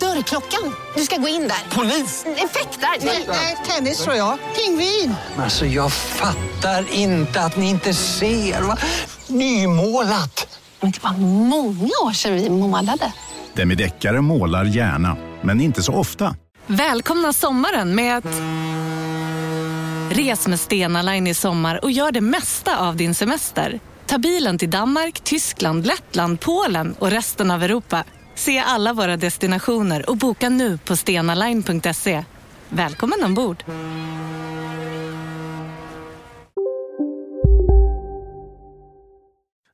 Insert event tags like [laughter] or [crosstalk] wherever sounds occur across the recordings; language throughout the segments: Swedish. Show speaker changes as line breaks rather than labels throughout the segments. Dörrklockan. Du ska gå in där. Polis? Effektar? Nej, tennis tror jag. Pingvin.
Alltså jag fattar inte att ni inte ser. Va? Nymålat!
Men det var många år sedan vi målade.
Demideckare målar gärna, men inte så ofta.
Välkomna sommaren med att... Res med Stena Line i sommar och gör det mesta av din semester. Ta bilen till Danmark, Tyskland, Lettland, Polen och resten av Europa. Se alla våra destinationer och boka nu på stenaline.se. Välkommen ombord!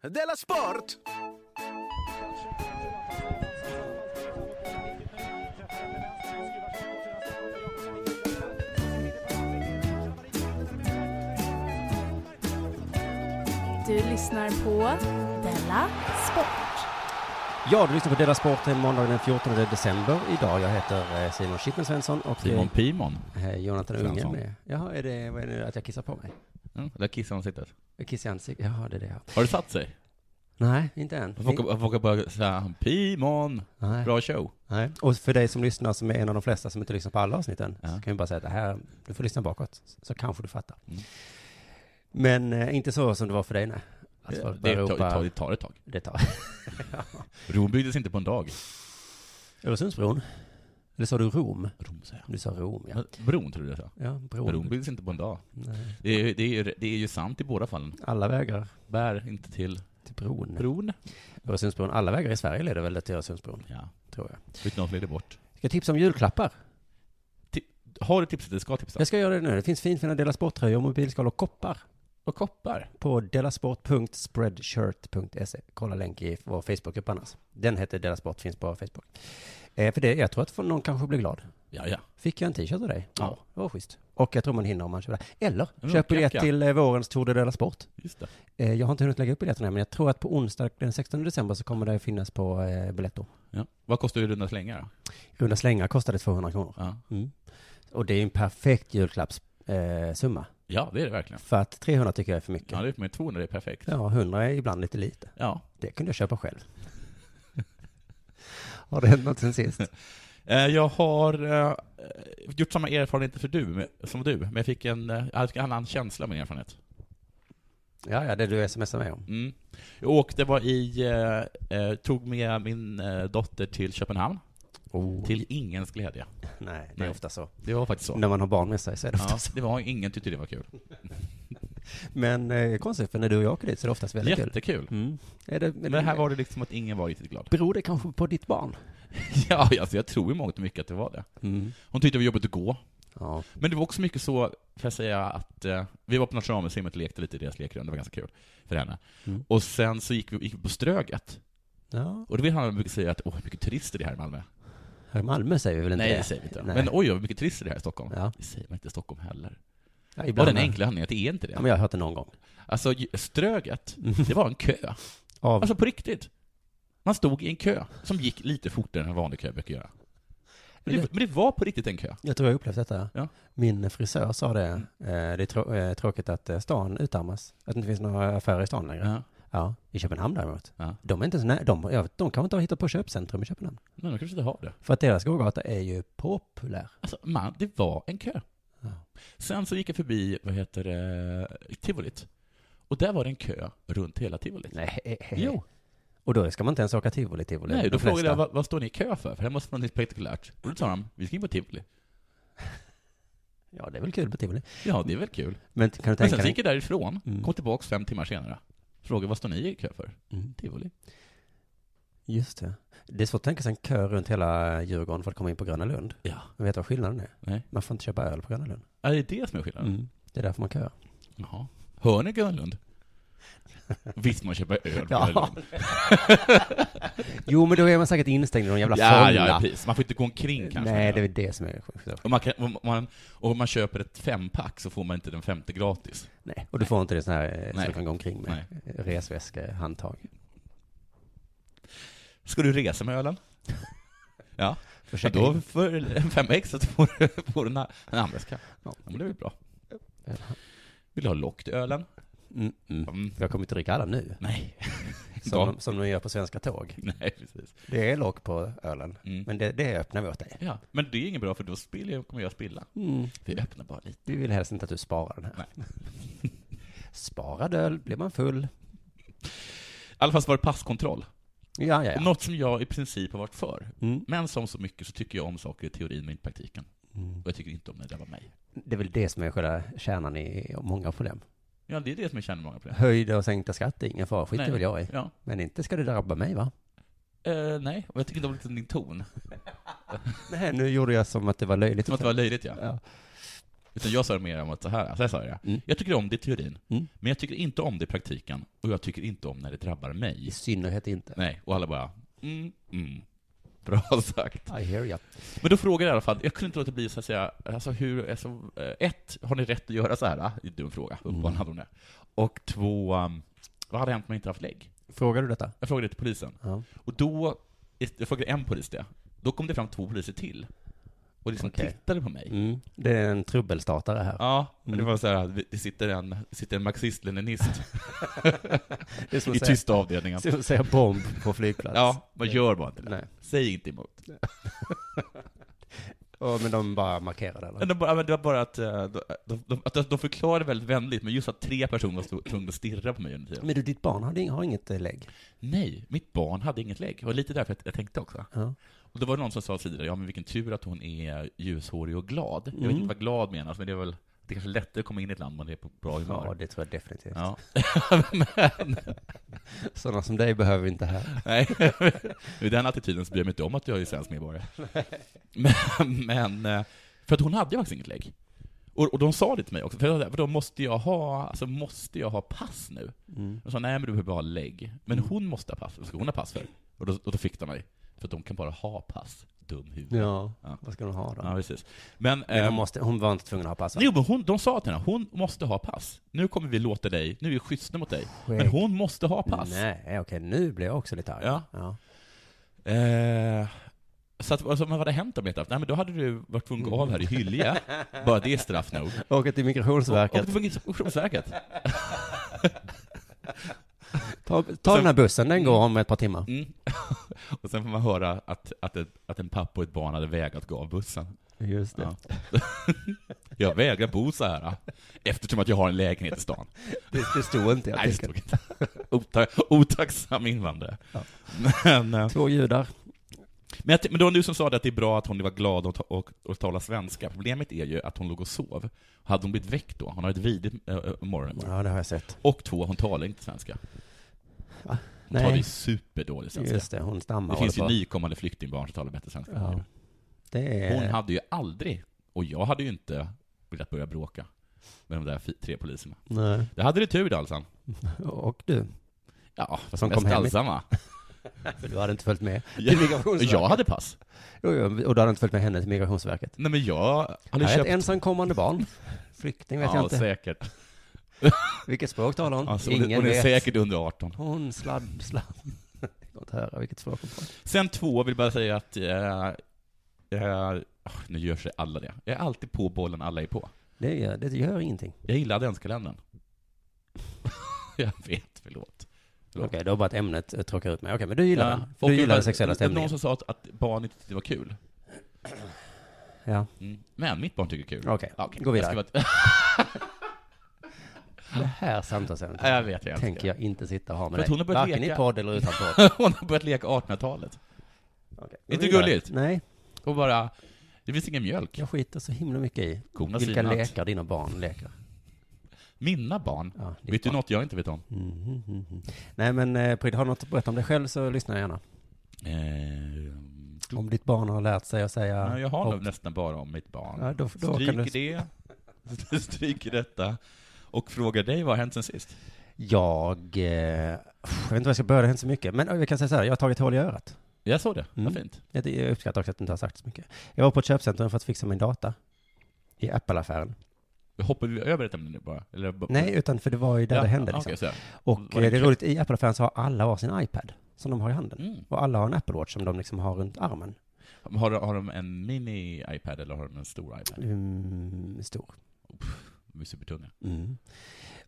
Della Sport!
Du lyssnar på Della Sport.
Ja, du lyssnar på Della Sport eh, måndagen den 14 december idag. Jag heter eh, Simon Schippen Svensson och eh,
Simon Pimon.
eh, Jonathan Unge
Svensson.
med. Jaha, är det, vad är det att jag kissar på mig?
Ja, där kissar ansiktet.
Jag kissar i ansiktet? Jaha, det är det jag
Har det satt sig?
Nej, inte än.
Jag vågar- Jag vågar bara säga Pimon.
Nej.
Bra show.
Nej. Och för dig som lyssnar, som är en av de flesta som inte lyssnar på alla avsnitten,
Ja.
så kan vi bara säga att det här, du får lyssna bakåt, så kanske du fattar.
Mm.
Men eh, inte så som det var för dig, nej. Att
Det,
folk
det,
börjar
tar,
Alltså, ropa-
tar, det tar ett tag.
det tar.
Rom byggdes inte på en dag.
Öresundsbron? Eller sa du Rom?
Rom säger
Du sa Rom, ja.
jag. Bron tror du det sa.
Ja, bron.
Rom byggdes inte på en dag.
Nej.
Det är, det, är, det är ju sant i båda fallen.
Alla vägar
Bär inte till
till bron.
bron.
Öresundsbron. Alla vägar i Sverige leder väl till Öresundsbron,
Ja,
tror jag.
utan att leder bort.
Ska jag tipsa om julklappar?
Har du tipsat? Du ska tipsa.
Jag ska göra det nu. Det finns finfina Dela Sport-tröjor, mobilskal och koppar
Och koppar.
på delasport.spreadshirt.se. Kolla länk i vår Facebookgrupp annars. Den heter Dela Sport, finns på Facebook. Eh, för det, jag tror att någon kanske blir glad.
Ja, ja.
Fick jag en t-shirt av dig?
Ja.
Det var schysst. Och jag tror man hinner om man köper. Eller,
Men
köp
vad
biljett
knäcka.
till eh, vårens Tour de Dela Sport.
Just det.
Eh, jag har inte hunnit lägga upp biljetterna än, men jag tror att på onsdag den 16 december så kommer det finnas på eh, biljetter.
Ja. Vad kostar ju runda slängar då?
Runda slängar kostade 200 kronor.
Ja.
Mm. Och det är en perfekt julklappssumma. Eh, summa.
ja, det är det verkligen.
för att 300 tycker jag är för mycket.
Ja, det är för mig 200 det är perfekt.
Ja, 100 är ibland lite lite.
ja.
Det kunde jag köpa själv. [laughs] Har det hänt något sen sist?
Eh, Jag har eh, gjort samma erfarenhet för du, men- som du, men jag fick en, eh, jag fick en annan känsla av min erfarenhet.
Ja, ja, det du smsar mig om.
Mm. Jag åkte, var i, eh, eh, tog med min eh, dotter till Köpenhamn,
Oh.
till ingens glädje.
Nej, det är
Nej.
ofta så.
Det var faktiskt så.
När man har barn med sig så är det ofta
Ja,
så.
det var ingen tyckte det var kul.
Men eh, konstigt, för när du och jag åker dit så är det oftast väldigt kul.
Jättekul.
Mm. Är det,
Men här var det liksom att ingen var riktigt glad. [laughs]
Beror det kanske på ditt barn?
Ja, alltså jag tror i mångt och mycket att det var det.
Mm.
Hon tyckte det var jobbigt att gå.
Ja.
Men det var också mycket så, kan jag säga, att eh, vi var på Nationalmuseet och lekte lite i deras lekrum, det var ganska kul för henne.
Mm.
Och sen så gick vi, gick vi på Ströget,
ja.
Och då vill han brukar säga att åh, hur mycket turister det är här i Malmö.
Här i Malmö säger vi väl inte
Nej,
det?
det säger vi inte.
Nej.
Men oj, hur mycket turister det är här i Stockholm.
Ja.
Det säger man inte i Stockholm heller.
Ja,
Av
ibland.
den enkla anledningen att det är inte
Ja,
det.
men jag har hört det någon gång.
Alltså, ju- Ströget, Mm. det var en kö.
Av,
Alltså på riktigt. Man stod i en kö som gick lite fortare än en vanlig kö brukar göra. Men det, men det var på riktigt en kö.
jag tror jag har upplevt detta.
Ja. Mm.
Min frisör sa det. Eh, det är trå- eh, tråkigt att eh, stan utarmas. Att det inte finns några affärer i stan längre.
Ja.
Ja, i Köpenhamn däremot.
Ja.
De är inte så nä- de, jag vet, de kan inte ha hittat på köpcentrum i Köpenhamn.
Men de kanske inte har det.
För att deras gågata är ju populär.
Alltså, man, det var en kö.
Ja.
Sen så gick jag förbi, vad heter det, tivolit. Och där var det en kö runt hela tivolit.
[laughs] Nej.
Jo.
Och då ska man inte ens åka tivoli, tivoli.
Nej,
De
då frågade
flesta.
jag vad, vad står ni i kö för? För det måste vara något spektakulärt. Och då sa de, vi ska in på tivoli.
Ja, det är väl kul på tivoli.
Ja, det är väl kul.
Men kan du
Men
tänka
sen så gick
dig...
jag därifrån,
Mm.
kom tillbaks fem timmar senare. Frågade, vad står ni i kö för?
Mm,
Tivoli.
just det. Det är svårt att tänka sig en kö runt hela Djurgården för att komma in på Gröna Lund.
Ja.
Men vet du vad skillnaden är?
Nej.
Man får inte köpa öl på Gröna Lund. Mm.
Är det det som är skillnaden?
Det är därför man köar.
Jaha. Hör ni Grönlund? Visst, man köper öl på
[laughs] Ja.
Öland.
Jo, men då är man säkert instängd i någon jävla
ja,
fålla.
ja, precis. Man får inte gå omkring kanske.
Nej, det är väl det som är sjukt.
och, man kan, om, man, och om man köper ett fempack så får man inte den femte gratis.
Nej, och du får inte det sån här eh, som
Nej.
du kan gå omkring med. Resväska, handtag.
Ska du resa med
[laughs]
ölen? Ja, och
Försök
då för en femma extra så får du, får du en, en handväska. Ja, men det är väl bra. Vill du ha lock till ölen?
Mm, mm.
Mm.
Jag kommer inte dricka alla nu,
Nej. [laughs]
som,
Då.
de- som de gör på svenska tåg.
Nej, precis.
Det är lock på ölen,
Mm.
men det, det öppnar vi åt dig.
Ja, men det är inget bra för då spiller jag, kommer jag spilla. Vi öppnar bara lite.
Vi vill helst inte att du sparar den här. [laughs] Sparad öl blir man full.
I alla fall så var det passkontroll.
Ja, ja, ja.
Något som jag i princip har varit för.
Mm.
Men som så mycket så tycker jag om saker i teorin men inte i praktiken. Och jag tycker inte om när det drabbar mig.
mm. Det är väl det som är själva kärnan i många problem.
Ja, det är det som jag känner många problem.
Höjda och sänkta skatter, ingen fara, skiter
Nej.
väl jag i.
Ja.
Men inte ska det drabba mig va?
Eh, nej, och jag tycker inte om liksom din ton.
Nej, nu gjorde jag som att det var löjligt.
Som att det var löjligt, ja.
Ja.
Utan jag sa det mer om att så här, så här sa jag.
Mm.
Jag tycker om det i teorin,
Mm.
men jag tycker inte om det i praktiken. Och jag tycker inte om när det drabbar
I
mig.
synnerhet inte.
Nej, och alla bara, mm, mm. Bra sagt.
I hear ya.
Men då frågar jag i alla fall, jag kunde inte låta bli så att säga, alltså hur, alltså, eh, ett, har ni rätt att göra så här? ah? Det är en dum fråga,
Mm.
uppenbarligen hade hon det. Och två, um, vad hade hänt om jag inte haft lägg?
Frågar du detta?
Jag frågade det till polisen.
Ja.
Och då, jag frågade en polis det, då kom det fram två poliser till. Och liksom
Okej.
tittade på mig.
Mm. Det är en trubbelstartare här.
Ja, men det
Mm.
var så här, det sitter en, det sitter en marxist-leninist
[laughs] Det är som
i
att säga,
tysta avdelningen.
som att säga bomb på flygplats.
Ja, man gör bara inte det.
Nej.
Säg inte emot.
Och, men de bara markerar det. Eller?
Men de bara, men det var bara att eh, de, de, de, att de förklarade väldigt vänligt, men just att tre personer var stå- tvungna att stirra på mig under tiden.
Men du, ditt barn har, ing- har inget eh, lägg?
Nej, mitt barn hade inget lägg. Det var lite därför jag- jag tänkte också.
Ja.
Och det var någon som sa tidigare, ja men vilken tur att hon är ljushårig och glad. Jag
Mm.
vet inte vad glad menas, men det är väl, det är kanske lättare att komma in i ett land om man är på bra
Ja,
humör.
det tror jag definitivt.
Ja.
Sådana som dig behöver vi inte här.
Nej, [laughs] i den attityden så bryr jag mig inte om att jag är svensk medborgare. Men, [laughs] men eh, för att hon hade ju faktiskt inget lägg. Och, och de sa det till mig också, för, jag- för då måste jag ha, alltså måste jag ha pass nu?
Mm.
De sa nej men du behöver bara ha lägg. Men hon måste ha pass, vad ska hon ha pass för? Och då, och då fick de mig, för att de kan bara ha pass, dum huvud.
Ja,
Ja.
vad ska de ha då?
Ja, precis. Men,
Men hon,
ehm,
måste, hon var inte tvungen att ha pass va?
Jo, men hon, de sa till henne, hon måste ha pass. Nu kommer vi låta dig, nu är vi schyssta mot dig. Men hon måste ha pass.
Nej, okej, nu blir jag också lite arg.
Ja.
Ja.
Eh, så att, alltså, men vad hade hänt om jag inte haft? Nej men då hade du varit tvungen att gå av här i [laughs] Hylje. Bara det är straff nog.
Åka till
Och
Migrationsverket.
det var Migrationsverket.
Ta, ta den här bussen, den går om ett par timmar.
Mm. Och sen får man höra att, att, ett, att en pappa och ett barn hade vägrat gå av bussen.
Just det.
Ja. [laughs] Jag vägrar bo så här. Eftersom att jag har en lägenhet i stan.
Det, det stod inte, jag
Nej, det
tänker.
stod inte. Ota, otacksam invandrare. Men, eh,
Två judar.
Men, jag, t- men det var du som sa det att det är bra att hon var glad och, ta- och, och talade svenska. Problemet är ju att hon låg och sov. Hade hon blivit väckt då? Hon har ett vidigt äh, morgon.
Ja, det har jag sett.
Och två, hon talar inte svenska. Hon talar ju
Nej,
superdålig svenska.
just det, hon stammar.
det finns ju
håller på.
nykommande flyktingbarn som talar bättre svenska.
Ja. Det är...
Hon hade ju aldrig, och jag hade ju inte velat börja bråka med de där fi- tre poliserna.
Nej.
Det hade du tur Dalsan.
Och
[laughs]
du,
Ja, fast
Som
mest
kom hem i- [laughs]
Dalsan
för du hade inte följt med till
Ja,
Migrationsverket.
jag hade pass.
Jo, jo, Och du hade inte följt med henne till Migrationsverket.
Nej men jag hade
Jag är ett
köpt...
ensamkommande barn. Flykting vet jag
ja,
inte.
säkert.
Vilket språk talar hon?
Alltså, hon,
Ingen
hon är
vet.
säkert under 18.
Hon sladd, sladd. [laughs] Det går inte att höra vilket språk hon pratar.
Sen två, vill bara säga att... Eh, eh, ah, nu gör sig alla det. Jag är alltid på bollen, alla är på.
Det gör, det gör ingenting.
Jag gillar adventskalendern. [laughs] jag vet, förlåt.
Okej,
Förlåt.
det var bara att ämnet eh, tråkar ut mig. Okej, men du gillar den. För
och
Du gillar
jag-
den sexuella
det var Någon
stämningen.
som sa att, att barn inte tyckte det var kul.
Ja.
Mm. Men mitt barn tycker det är kul.
Okej,
Ja, okej.
gå
Jag ska
vidare.
vara-
Det här samtalsämnet
[laughs] Ja, jag vet, jag älskar
tänker jag inte sitta och ha
För
med
att
dig.
hon har börjat
Varken
leka.
i podd eller utan
[laughs]
podd.
Hon har börjat leka 1800-talet.
Okej, gå
Inte
vidare.
gulligt.
Nej,
Och bara, det finns ingen mjölk.
jag skiter så himla mycket i
Korna
vilka
svinat.
lekar dina barn leker.
Mina barn.
Ja, ditt
vet du
barn.
något jag inte vet om?
Mhm, mhm. Nej men eh, Pryd, har du något att berätta om dig själv så lyssnar jag gärna.
Eh,
Om ditt barn har lärt sig att säga...
Nej, jag har
hopp.
nog nästan bara om mitt barn.
Ja, då- då kan
[laughs] Stryker det, stryker detta och frågar dig vad har hänt sen sist?
Jag, eh, jag vet inte var jag ska börja, det har hänt så mycket. Men jag kan säga så här, jag har tagit hål i örat.
Jag såg det, vad
Mm.
fint.
Jag jag uppskattar också att du inte har sagt så mycket. Jag var på ett köpcentrum för att fixa min data. I Apple-affären.
Mm. Hoppar vi över ett ämne nu bara? Eller, bara-
Nej, utan för det var ju där det hände.
ja,
Liksom.
okej, så ja.
Och
Var
eh,
det
det är
kul?
roligt, i Apple-affären så har alla var sin iPad som de har i handen.
Mm.
Och alla har en Apple Watch som de liksom har runt armen.
Har, har de en mini-iPad eller har de en stor iPad?
Mm, stor.
De är supertunga.
Mm.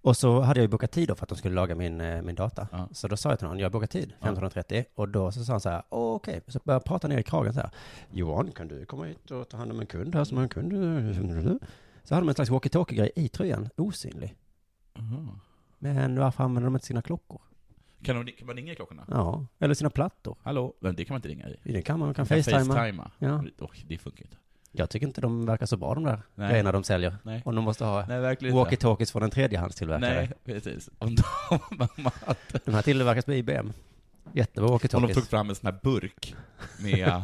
Och så hade jag ju bokat tid då för att de skulle laga min, eh, min data.
Ja.
Så då sa jag till honom, jag har bokat tid, 15.30. Och då så sa han så här, "Åh, okej. Så började jag prata ner i kragen så här. Johan, kan du komma hit och ta hand om en kund här som har en kund? Så hade de en slags walkie-talkie-grej i tröjan, osynlig.
Aha.
Men varför använder de inte sina klockor?
Kan, de, kan man ringa i klockorna?
Ja, eller sina plattor.
Hallå? Men det kan man inte ringa i.
I den kan man, man kan
Man kan
facetima. Ja.
Och det funkar ju inte.
Jag tycker inte de verkar så bra de där
Nej.
grejerna de säljer.
Nej.
Om de måste ha
Nej, verkligen inte.
walkie-talkies från en tredjehandstillverkare.
Nej, precis. Om de, om
De här tillverkas på IBM. Jättebra
de tog
walkie-talkies.
fram en sån här burk med,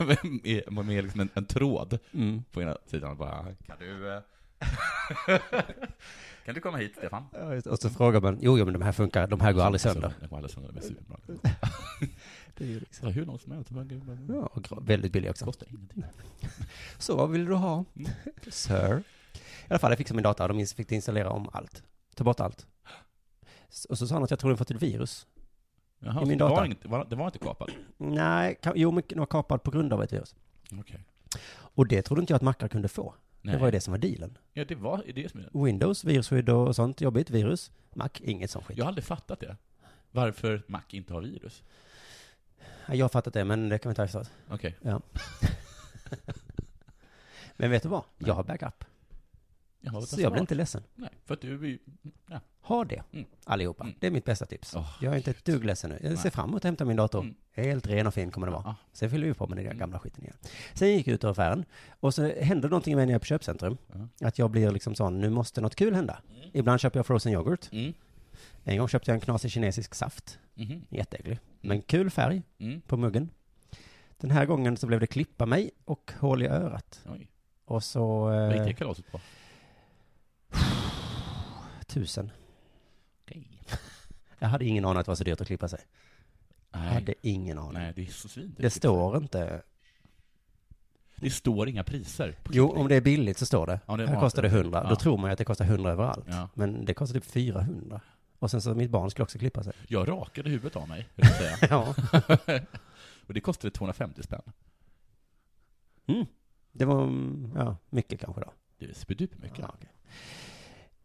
[laughs] med, med, med liksom en, en tråd
Mm.
på ena sidan och bara Kan du... eh, [laughs] kan du komma hit, Stefan?
Ja, just det. Och så frågar man, jo, jo men de här funkar, de här går aldrig sönder.
Den Alltså, går aldrig sönder, de är superbra.
Det är ju liksom-
Så hur långt som helst. de bara-
Ja, och gra- väldigt billig också.
Kostar ingenting.
Så vad vill du ha? Sir? I alla fall, jag fixade min data och de ins- fick installera om allt. Ta bort allt. S- Och så sa han att jag tror den fått ett virus.
Jaha,
I min
så det Var
data.
inte, var, det var inte kapad?
Nej, ka- jo men den var kapad på grund av ett virus.
Okej.
Och det trodde inte jag att mackar kunde få.
Nej.
Det var ju det som var dealen.
Ja, det var det som är
Windows, virusskydd och sånt, jobbigt, virus. Mac, inget sånt skit.
Jag har aldrig fattat det. Varför Mac inte har virus.
Nej, Jag har fattat det, men det kan vi ta efteråt.
Okej.
Men vet du vad? Jag har backup.
Jaha, vad
Så
smart.
jag blir inte ledsen.
Nej, för att du är ju- ja.
Ha det,
Mm.
allihopa.
Mm.
Det är mitt bästa tips.
Åh,
jag är inte ett dugg ledsen nu. Jag ser
Nej.
fram emot att hämta min dator.
Mm.
Helt ren och fin kommer det vara.
Ja. Mm.
Sen fyller vi på med den där gamla skiten igen. Sen gick jag ut ur affären. Och så hände någonting med mig när jag är på köpcentrum. Att jag blir liksom sån, nu måste något kul hända. Ibland köper jag frozen yoghurt.
Mm.
En gång köpte jag en knasig kinesisk saft.
Mhm.
Jätteäcklig. Men kul färg
Mm.
på muggen. Den här gången så blev det klippa mig och hål i örat.
Oj.
Och så...
Vad gick det
Eh,
kalaset på?
tusen.
Okej.
[laughs] Jag hade ingen aning att det var så dyrt att klippa sig. Jag
Nej.
hade ingen aning.
Nej, det är så svin.
Det står inte.
det står inga priser. på
Jo,
klippning.
om det är billigt så står det.
Ja, det är
här
bra.
kostar det 100.
Ja.
Då tror man ju att det kostar 100 överallt.
Ja.
Men det kostar typ 400. Och sen så mitt barn skulle också klippa sig.
Jag rakade huvudet av mig, vill jag säga.
Ja.
Och det kostade 250 spänn.
[laughs] Mm. Det var, mm, ja, mycket kanske då.
Det är superduper mycket.
Ja, okej.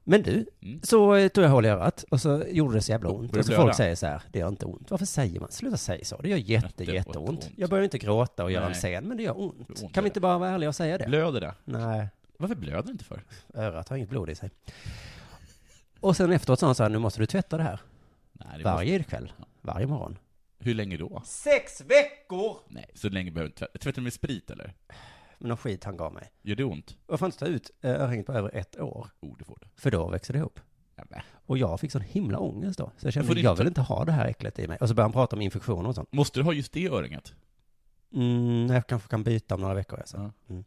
Men du,
Mm.
så eh, tog jag hål i örat och så gjorde det så jävla ont.
Började
Och så
blöda.
folk säger så här, det gör inte ont. Varför säger man? Sluta säga så. Det gör jätte,
Jätte-
jätteont.
ont.
Jag börjar inte gråta och göra
Nej.
en scen, men det gör ont.
Det gör ont,
Kan vi
ja.
inte bara vara ärliga och säga det?
Blöder det?
Nej.
Varför blöder det inte för?
Örat har inget blod i sig. Och sen efteråt sa han så här, nu måste du tvätta det här.
Nej, det måste...
Varje kväll, varje morgon.
Hur länge då?
Sex veckor!
Nej, så länge behöver du inte tvätta. Tvättar du med sprit eller?
Men någon skit han gav mig.
Gör det ont?
Jag får inte ta ut eh, örhänget på över ett år,
Oh, det får du.
för då växer det ihop.
Ja, men.
Och jag fick sån himla ångest då. Så jag
Får
kände,
du
jag
inte-
vill inte ha det här äcklet i mig. Och så började han prata om infektioner och sånt.
Måste du ha just det öringet?
Mm, jag kanske kan byta om några veckor. Alltså.
Ja.
Mm.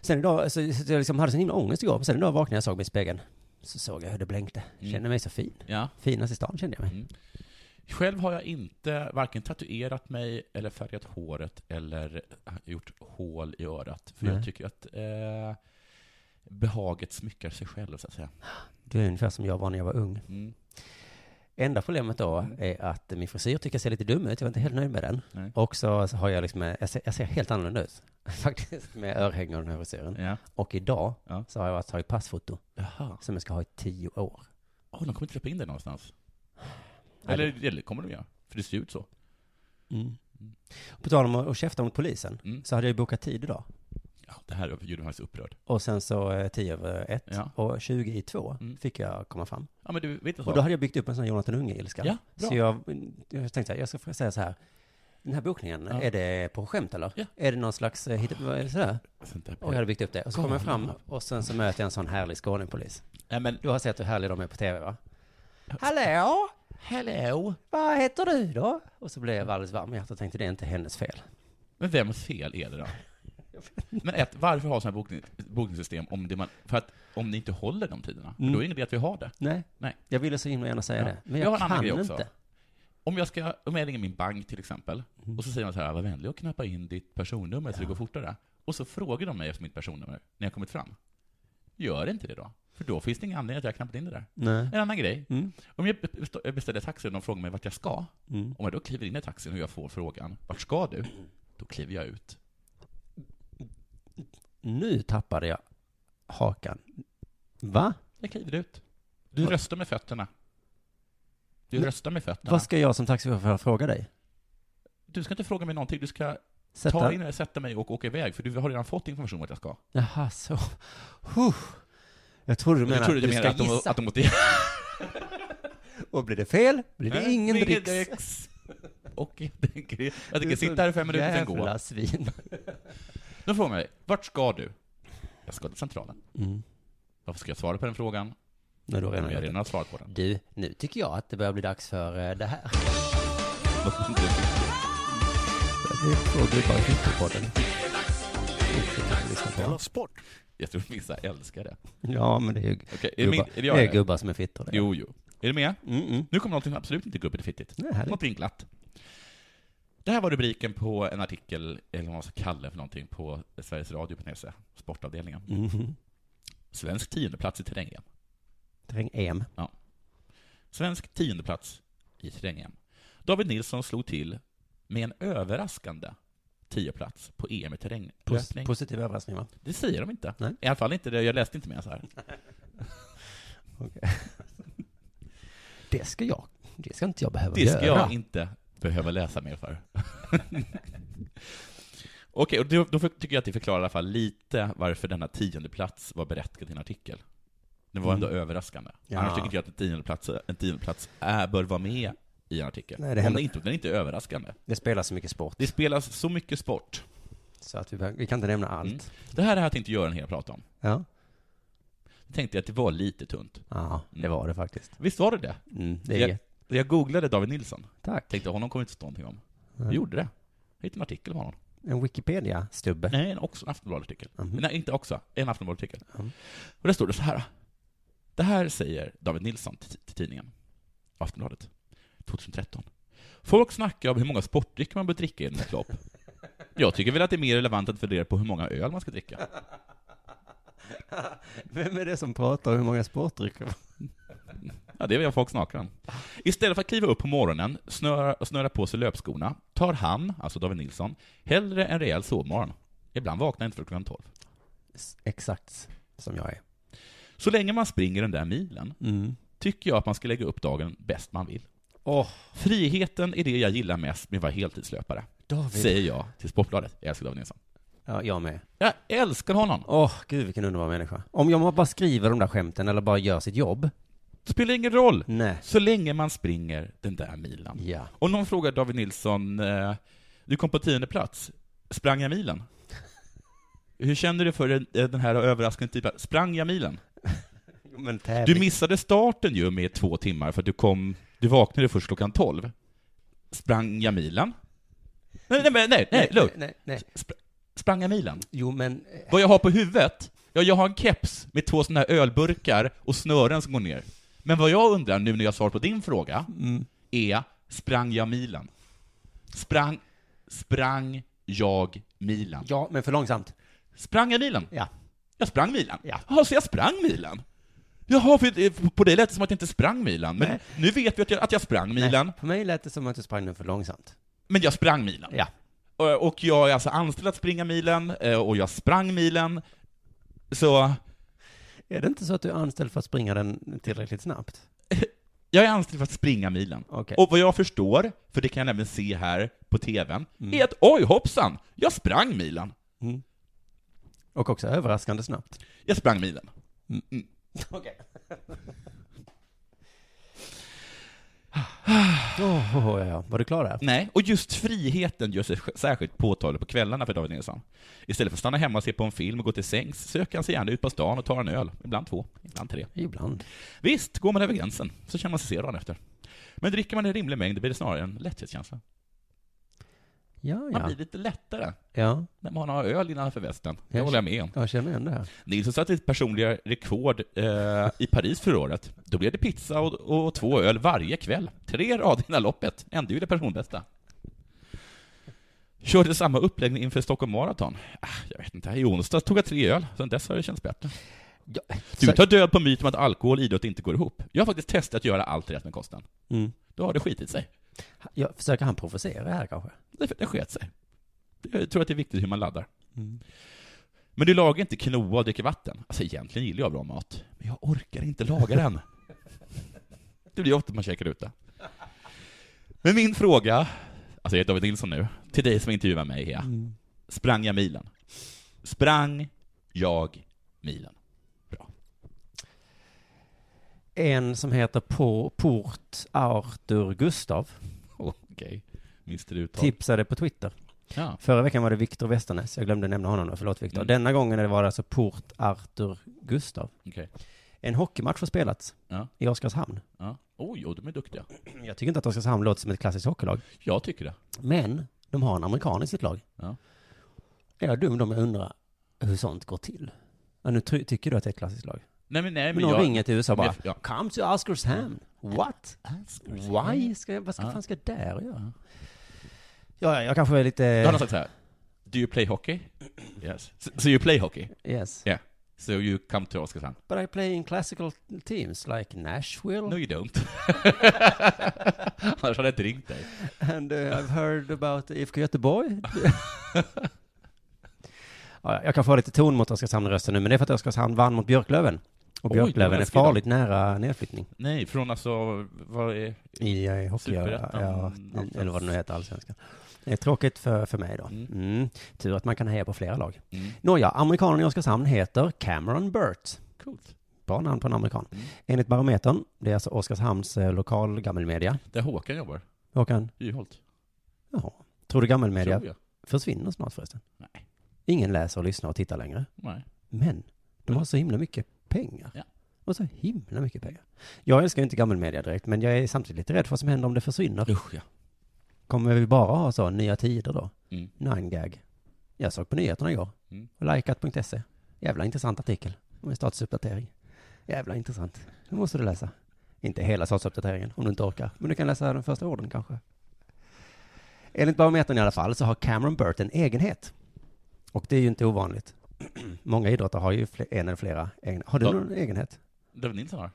Sen idag, så, så jag liksom hade sån himla ångest igår. Sen idag vaknade jag och såg mig i spegeln. Så såg jag hur det blänkte. Kände mig så fin.
Ja.
Finast i stan kände jag mig.
Mm. Själv har jag inte varken tatuerat mig eller färgat håret eller äh, gjort hål i örat. För jag
Nej.
tycker att eh, behaget smyckar sig själv, så att säga.
Du är ungefär som jag var när jag var ung.
Mm.
Enda problemet då är att min frisyr tycker jag ser lite dum ut. Jag var inte helt nöjd med den.
Nej.
Och så har jag liksom, jag ser, jag ser helt annorlunda ut. [laughs] Faktiskt med örhängen och den här frisyren.
Ja.
Och idag
Mm. Ja.
så har jag alltså tagit passfoto
Jaha.
som jag ska ha i tio år.
Åh, de kommer inte släppa in dig någonstans.
Nej,
Eller, eller kommer de göra? För det ser ut så.
På tal om att att käfta mot polisen
Mm.
så hade jag ju bokat tid idag.
Ja, det här gjorde mig så upprörd.
Och sen så eh, tio över ett
Ja.
och tjugo i två
Mm.
fick jag komma fram.
Ja, men du, vet du
Och då
vad?
hade jag byggt upp en sån här Jonathan Unge-ilska.
Ja, bra.
så jag, jag tänkte så här, jag ska säga så här. Den här bokningen,
Ja.
är det på skämt eller?
Ja.
Är det någon slags eh, hitte- vad är det sådär?
Sånt där-
Och jag hade byggt upp det. Och så kom jag
Galna.
fram och sen så möter jag en sån härlig Skånepolis.
Nej, men...
Du har sett hur härliga de är på tv va? Hallå!
Hello!
Vad heter du då? Och så blev jag alldeles varm i hjärtat och tänkte det är inte hennes fel.
Men vems fel är det då?
[laughs] Jag
Men ett, varför ha sådana här bokning, bokningssystem om, det man, för att, om ni inte håller de tiderna?
Mm.
Då är det ingen idé att vi har det.
Nej.
Nej.
Jag ville så himla gärna säga
Ja.
det. Men
Jag
jag,
har en annan
kan
grej också.
inte.
Om jag, ska, om jag ringer min bank till exempel,
Mm.
och så säger man så här, var vänlig och knappa in ditt personnummer så det går fortare. Och så frågar de mig efter mitt personnummer när jag kommit fram. Gör inte det då, för då finns det ingen anledning att jag har knappat in det där.
Nej.
En annan grej,
Mm.
om jag best- jag beställer taxi och de frågar mig vart jag ska,
Mm.
om jag då kliver in i taxin och jag får frågan, vart ska du? Då kliver jag ut.
Nu tappade jag hakan. Va?
Jag kliver ut. Du röstar med fötterna. Du
Men-
röstar med fötterna.
Vad ska jag som taxichaufför fråga dig?
Du ska inte fråga mig någonting, du ska ta
Sätta...
in och sätta mig och åka iväg, för du har redan fått information vart jag ska.
Jaha, så. Huh. Jag trodde du
Men, jag
menade
trodde
att
du
du
menade
ska
att de,
gissa.
att de åt
Och blir det fel blir det ingen dricks.
Och jag tänker, jag tänker sitta här i fem minuter, sen gå.
Jävla svin. [laughs]
De frågar mig, vart ska du? Jag ska till centralen.
Mm.
Varför ska jag svara på den frågan?
Nej, då har
Jag
jag
har
redan
redan har svarat på den.
Du, nu tycker jag att det börjar bli dags för eh, det här. Det är frågor bara i Hyttopodden.
[laughs] Jag tror vissa älskar det.
Ja, men det är ju
Okej, är, det min,
gubbar,
är det
det
jag?
är
eller?
gubbar som är fittor. det är.
Jo, jo. Är du med?
Mm, mm.
Nu kommer någonting som absolut inte är gubbigt och fittigt.
Det är härligt.
Någonting glatt. Det här var rubriken på en artikel, eller vad man ska kalla det för någonting, på Sveriges Radio på Nese, sportavdelningen.
Mhm.
Svensk tiondeplats i terrängen.
Terräng-EM.
Svensk tiondeplats i terrängen. David Nilsson slog till med en överraskande tioplats på EM i terränglöpning.
Positiv överraskning, va?
Det säger de inte.
Nej.
I alla fall inte det, jag läste inte mer så här.
Det ska jag. Det ska inte jag behöva
Det ska
göra.
jag inte behöva läsa mer för. [laughs] Okej, och då, då för- tycker jag att det förklarar i alla fall lite varför denna tiondeplats var berättigad till en artikel. Den var ändå överraskande.
Mm. Ja.
Annars tycker inte jag att en tiondeplats, en tiondeplats är, bör vara med i en artikel.
Nej, det
Om
händer-
den inte, den är inte överraskande.
Det spelar så mycket sport,
Det spelas så mycket sport.
så att vi, behöver- vi kan inte nämna allt.
Mm. Det här hade inte Göran hela pratat om.
Ja.
Jag tänkte att det var lite tunt.
ja, det var det faktiskt.
Visst var det det?
Mm, det är...
Jag, jag googlade David Nilsson.
Tack.
Tänkte honom kommer inte stå någonting om.
Nej.
Jag gjorde det. Jag hittade en artikel om honom.
En Wikipedia-stubbe.
Nej, en också en Aftonbladet-artikel.
Mhm.
Nej, inte också. En Aftonbladet-artikel.
Mm.
Och där står det så här. Det här säger David Nilsson till, till tidningen Aftonbladet 2013. Folk snackar om hur många sportdrycker man bör dricka inom ett lopp. Jag tycker väl att det är mer relevant att fundera på hur många öl man ska dricka.
Vem är det som pratar om hur många sportdrycker?
Ja, det är vad folk snackar om. Istället för att kliva upp på morgonen, snöra, och snöra på sig löpskorna, tar han, alltså David Nilsson, hellre en rejäl sovmorgon. Ibland vaknar jag inte för klockan 12.
S- Exakt som jag är.
Så länge man springer den där milen
Mm.
tycker jag att man ska lägga upp dagen bäst man vill.
Åh,
Friheten är det jag gillar mest med att vara heltidslöpare,
David.
säger jag till Sportbladet. Jag älskar David Nilsson.
Ja, jag med.
Jag älskar honom!
Åh, gud vilken underbar människa. Om jag bara skriver de där skämten eller bara gör sitt jobb.
Det spelar ingen roll,
Nej.
så länge man springer den där milen.
Ja.
Om någon frågar David Nilsson, eh, du kom på tionde plats, sprang jag milen? Hur känner du för den- den här överraskande typen? Sprang jag milen?
Men
Du
tävling.
missade starten ju med två timmar för att du kom, du vaknade först klockan 12. Sprang jag milen? Nej, nej, nej, nej, nej, lugn.
nej, nej.
Spr- sprang jag milen?
Jo, men eh,
Vad jag har på huvudet? Ja, jag har en keps med två sådana här ölburkar och snören som går ner. Men vad jag undrar nu när jag svarar på din fråga
Mm.
är, sprang jag milen? Sprang, sprang jag milen?
ja, men för långsamt.
Sprang jag milen?
Ja.
Jag sprang milen?
Ja.
Jaha, så jag sprang milen? Jaha, för eh, på dig lät det som att jag inte sprang milen, men nu vet vi att jag, att jag sprang milen,
Nej, För mig lät det som att du sprang den för långsamt.
men jag sprang milen.
Ja.
Och- Och jag är alltså anställd att springa milen, eh, och jag sprang milen, så
Är det inte så att du är anställd för att springa den tillräckligt snabbt?
Jag är anställd för att springa milen.
Okej.
Och vad jag förstår, för det kan jag även se här på TVn,
Mm.
är att oj hoppsan, jag sprang milen.
Och också överraskande snabbt.
Jag sprang milen.
Okej. [laughs] Åh, åh, åh, ja, ja. Var du klar där?
Nej, och just friheten gör sig särskilt påtaglig på kvällarna för David Nilsson. Istället för att stanna hemma och se på en film och gå till sängs söker han sig gärna ut på stan och tar en öl. Ibland två, ibland tre.
Ibland.
Visst, går man över gränsen så känner man sig sedan efter. Men dricker man en rimlig mängd blir det snarare en lätthetskänsla.
Ja,
Man
ja.
blir lite lättare
Ja,
när man har öl innanför västen. Det
Jag
håller jag med om.
jag känner igen det här.
Nilsson satte sitt personliga rekord eh, i Paris förra året. Då blev det pizza och, och två öl varje kväll. Tre rader innan loppet. Ändå ju det personbästa. Körde samma uppläggning inför Stockholm Marathon. Ah, jag vet inte, i onsdags tog jag tre öl. Sen dess har det känts bättre.
Ja,
Du
så-
tar död på myten om att alkohol och idrott inte går ihop. Jag har faktiskt testat att göra allt rätt med kosten.
Mm.
Då har det skitit sig.
Ja, försöker han provocera här kanske?
Det, det sket sig. Jag tror att det är viktigt hur man laddar. Men du lagar inte quinoa och dricker vatten. Alltså egentligen gillar jag bra mat, men jag orkar inte laga den. Det blir ofta att man käkar ute. Men min fråga, alltså jag heter David Nilsson nu, till dig som intervjuar mig här. Sprang jag milen? Sprang jag milen? Bra.
En som heter Po- Port Arthur Gustav
Okej. Okay. Mr Uttal.
tipsade på Twitter.
Ja.
Förra veckan var det Viktor Westernäs, jag glömde nämna honom då, förlåt Viktor.
Mm.
Denna gången var det alltså Port Arthur Gustav.
Okej.
En hockeymatch har spelats
Ja.
i Oskarshamn.
Ja. Oj, oj, de är duktiga.
Jag tycker inte att Oskarshamn låter som ett klassiskt hockeylag,
Jag tycker det.
men de har en amerikan i sitt lag.
Ja.
Är jag dum då om jag undrar hur sånt går till? Ja, nu ty- tycker du att det är ett klassiskt lag.
Nej, men nej,
Men
men
någon
jag...
ringer till USA och bara,
Ja.
come to Oskarshamn. What? Why? Ska jag, vad ska,
Ja.
fan ska jag där och göra? Ja, jag kanske är lite...
Då hade han sagt så här. Do you play hockey? Yes. So, so you play hockey?
Yes.
Yeah. So you come to Oskarshamn?
But I play in classical teams like Nashville.
No you don't. [laughs] Annars hade jag inte ringt dig.
And uh, I've heard about IFK [laughs] Göteborg. ja, jag kan få lite ton mot Oskarshamn-rösten nu, men det är för att Oskarshamn vann mot Björklöven. Och
Oj,
Björklöven
vad
är
läskigt då.
farligt nära nedflyttning
Nej, från alltså, vad är...
i, eh, hockey, ja,
Superettan,
ja,
någonstans.
eller vad det nu heter, allsvenskan. Det är tråkigt för, för mig då.
Mm.
Mm. Tur att man kan heja på flera lag.
Mm.
Nåja, amerikanen i Oskarshamn heter Cameron Burt.
Coolt.
Bra namn på en amerikan.
Mm.
Enligt Barometern, det är alltså Oskarshamns eh, lokal gammelmedia.
Där Håkan jobbar.
Håkan,
Juholt.
jaha. Tror du gammelmedia
Tror jag.
försvinner snart förresten?
Nej.
Ingen läser och lyssnar och tittar längre.
Nej.
Men de har så himla mycket pengar.
Ja.
Och så himla mycket pengar. Jag älskar ju inte gammelmedia direkt, men jag är samtidigt lite rädd för vad som händer om det försvinner.
Usch ja.
Kommer vi bara ha så, nya tider då?
Mm.
Nine gag. Jag såg på nyheterna igår.
Mm.
Och likat.se. Jävla intressant artikel. Om en statusuppdatering. Jävla intressant. Det måste du läsa. Inte hela statusuppdateringen om du inte orkar. Men du kan läsa de första orden kanske. Enligt barometern i alla fall så har Cameron Burt en egenhet. Och det är ju inte ovanligt. [clears throat] Många idrottare har ju fle- en eller flera egenheter. Har du
Ja.
någon egenhet?
David Nilsson har.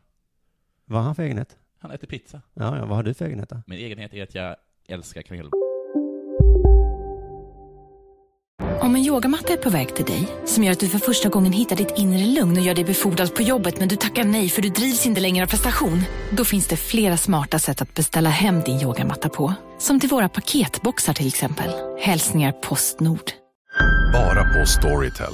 Vad har han för egenhet?
Han äter pizza.
Ja, ja, vad har du för egenhet då?
Min egenhet är att jag älskar kanel.
Om en yogamatta är på väg till dig, som gör att du för första gången hittar ditt inre lugn och gör dig befordrad på jobbet men du tackar nej för du drivs inte längre av prestation. Då finns det flera smarta sätt att beställa hem din yogamatta på. Som till våra paketboxar till exempel. Hälsningar Postnord.
Bara på Storytel.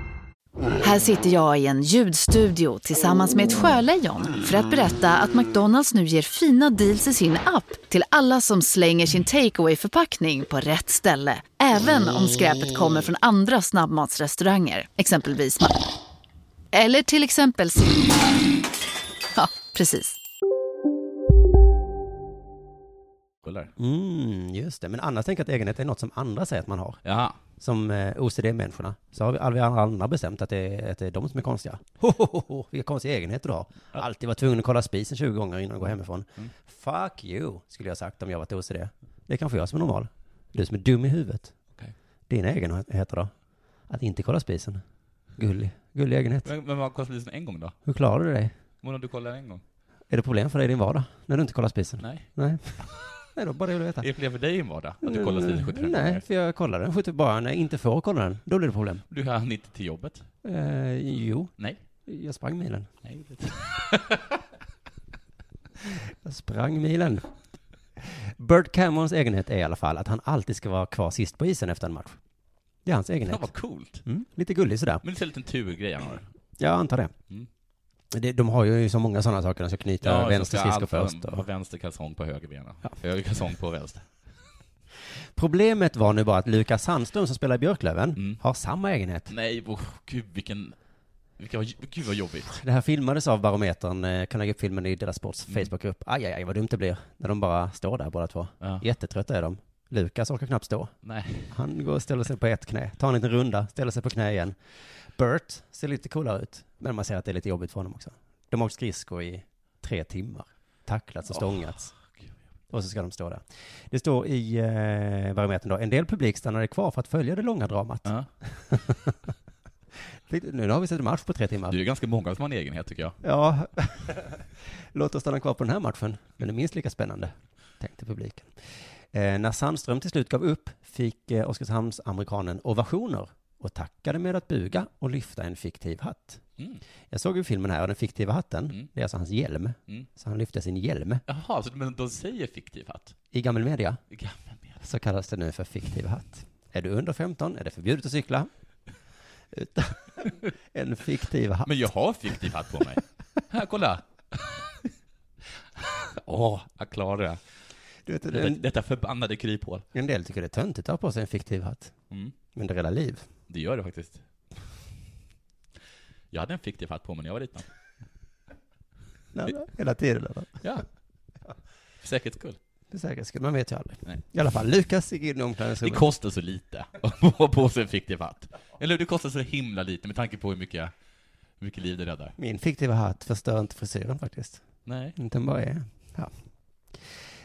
Här sitter jag i en ljudstudio tillsammans med ett sjölejon för att berätta att McDonalds nu ger fina deals i sin app till alla som slänger sin takeaway förpackning på rätt ställe. Även om skräpet kommer från andra snabbmatsrestauranger, exempelvis Ma- Eller till exempel Sim- Ja, precis.
Kollar.
Mm, just det. Men annars tänker jag att egenhet är något som andra säger att man har.
Jaha.
som eh, OCD-människorna, så har vi, alla vi andra bestämt att det, är, att det är de som är konstiga. Hohoho, vilka konstiga egenheter du har. Alltid var tvungen att kolla spisen 20 gånger innan du går hemifrån. Fuck you, skulle jag sagt om jag varit OCD. Det är kanske jag som är normal. Du som är dum i huvudet.
Okej.
Dina egenheter då? Att inte kolla spisen. Gullig, gullig egenhet.
Men, men vad kostar polisen en gång då?
Hur klarar du dig?
Mona, du kollar en gång?
Är det problem för dig i din vardag? När du inte kollar spisen?
Nej.
Nej. Nej, då bara det jag vill veta.
Är det fler för dig i vardag? Att du kollar stilen 75
Mm, Nej,
gånger?
för jag kollar den 70 bara när jag inte får kolla den. Då blir det problem.
Du hann inte till jobbet?
Eh, jo,
Nej.
jag sprang milen.
Nej. [laughs]
Jag sprang milen. Bert Camerons egenhet är i alla fall att han alltid ska vara kvar sist på isen efter en match. Det är hans
Fan
egenhet.
vad coolt.
Mm, lite gullig sådär.
Men det är en liten turgrej han har.
Jag antar det.
Mm.
Det, de har ju så många sådana saker, de ska knyta vänster
ska
skridsko
allt
först.
vara-
Och...
vara Vänster kalsong på höger bena. Höger kalsong på vänster.
Problemet var nu bara att Lukas Sandström som spelar i Björklöven
Mm.
har samma egenhet.
Nej, oh, gud vilken... vilken gud vad jobbigt.
Det här filmades av Barometern, eh, kan lägga upp filmen i deras sports
Mm.
Facebookgrupp. Aj, aj, aj, vad dumt det blir när de bara står där båda två. Jättetrötta är de. Lukas orkar knappt stå.
Nej.
Han går och ställer sig på ett knä, tar en liten runda, ställer sig på knä igen. Bert ser lite coolare ut, men man ser att det är lite jobbigt för honom också. De har åkt skridskor i tre timmar, tacklats och stångats. Och så ska de stå där. Det står i eh, barometern då, en del publik stannade kvar för att följa det långa dramat. [laughs] nu har vi sett en match på tre timmar.
Det är ju ganska många som har en egenhet tycker jag.
Ja, låt oss stanna kvar på den här matchen. Den är minst lika spännande, tänkte publiken. Eh, när Sandström till slut gav upp fick eh, Oskarshamns-amerikanen ovationer och tackade med att buga och lyfta en fiktiv hatt.
Mm.
Jag såg ju filmen här och den fiktiva hatten, det är alltså hans hjälm.
Mm.
Så han lyfte sin hjälm.
Jaha, så, men de säger fiktiv hatt?
I gammal media
I gammal
så kallas det nu för fiktiv hatt. Är du under 15 är det förbjudet att cykla. [laughs] Utan en fiktiv hatt.
Men jag har fiktiv hatt på mig. [laughs] Här, kolla! [laughs] Åh, jag klarar det.
Du vet,
Detta, detta förbannade kryphål.
En del tycker det är töntigt att ha på sig en fiktiv hatt.
Mm.
Men det hela liv.
Det gör det faktiskt. Jag hade en fiktiv hatt på mig när jag var liten.
Nej, hela tiden. Eller?
Ja. För säkerhets skull.
För säkerhets skull, man vet ju aldrig.
Nej.
I alla fall, Lukas gick in i
Det
omklädningsrummet.
kostar så lite [laughs] att ha på sig en fiktiv hatt. Eller hur? det kostar så himla lite med tanke på hur mycket, hur mycket liv det räddar.
Min fiktiva hatt förstör inte frisyren faktiskt.
Nej.
Inte den bara är. Ja.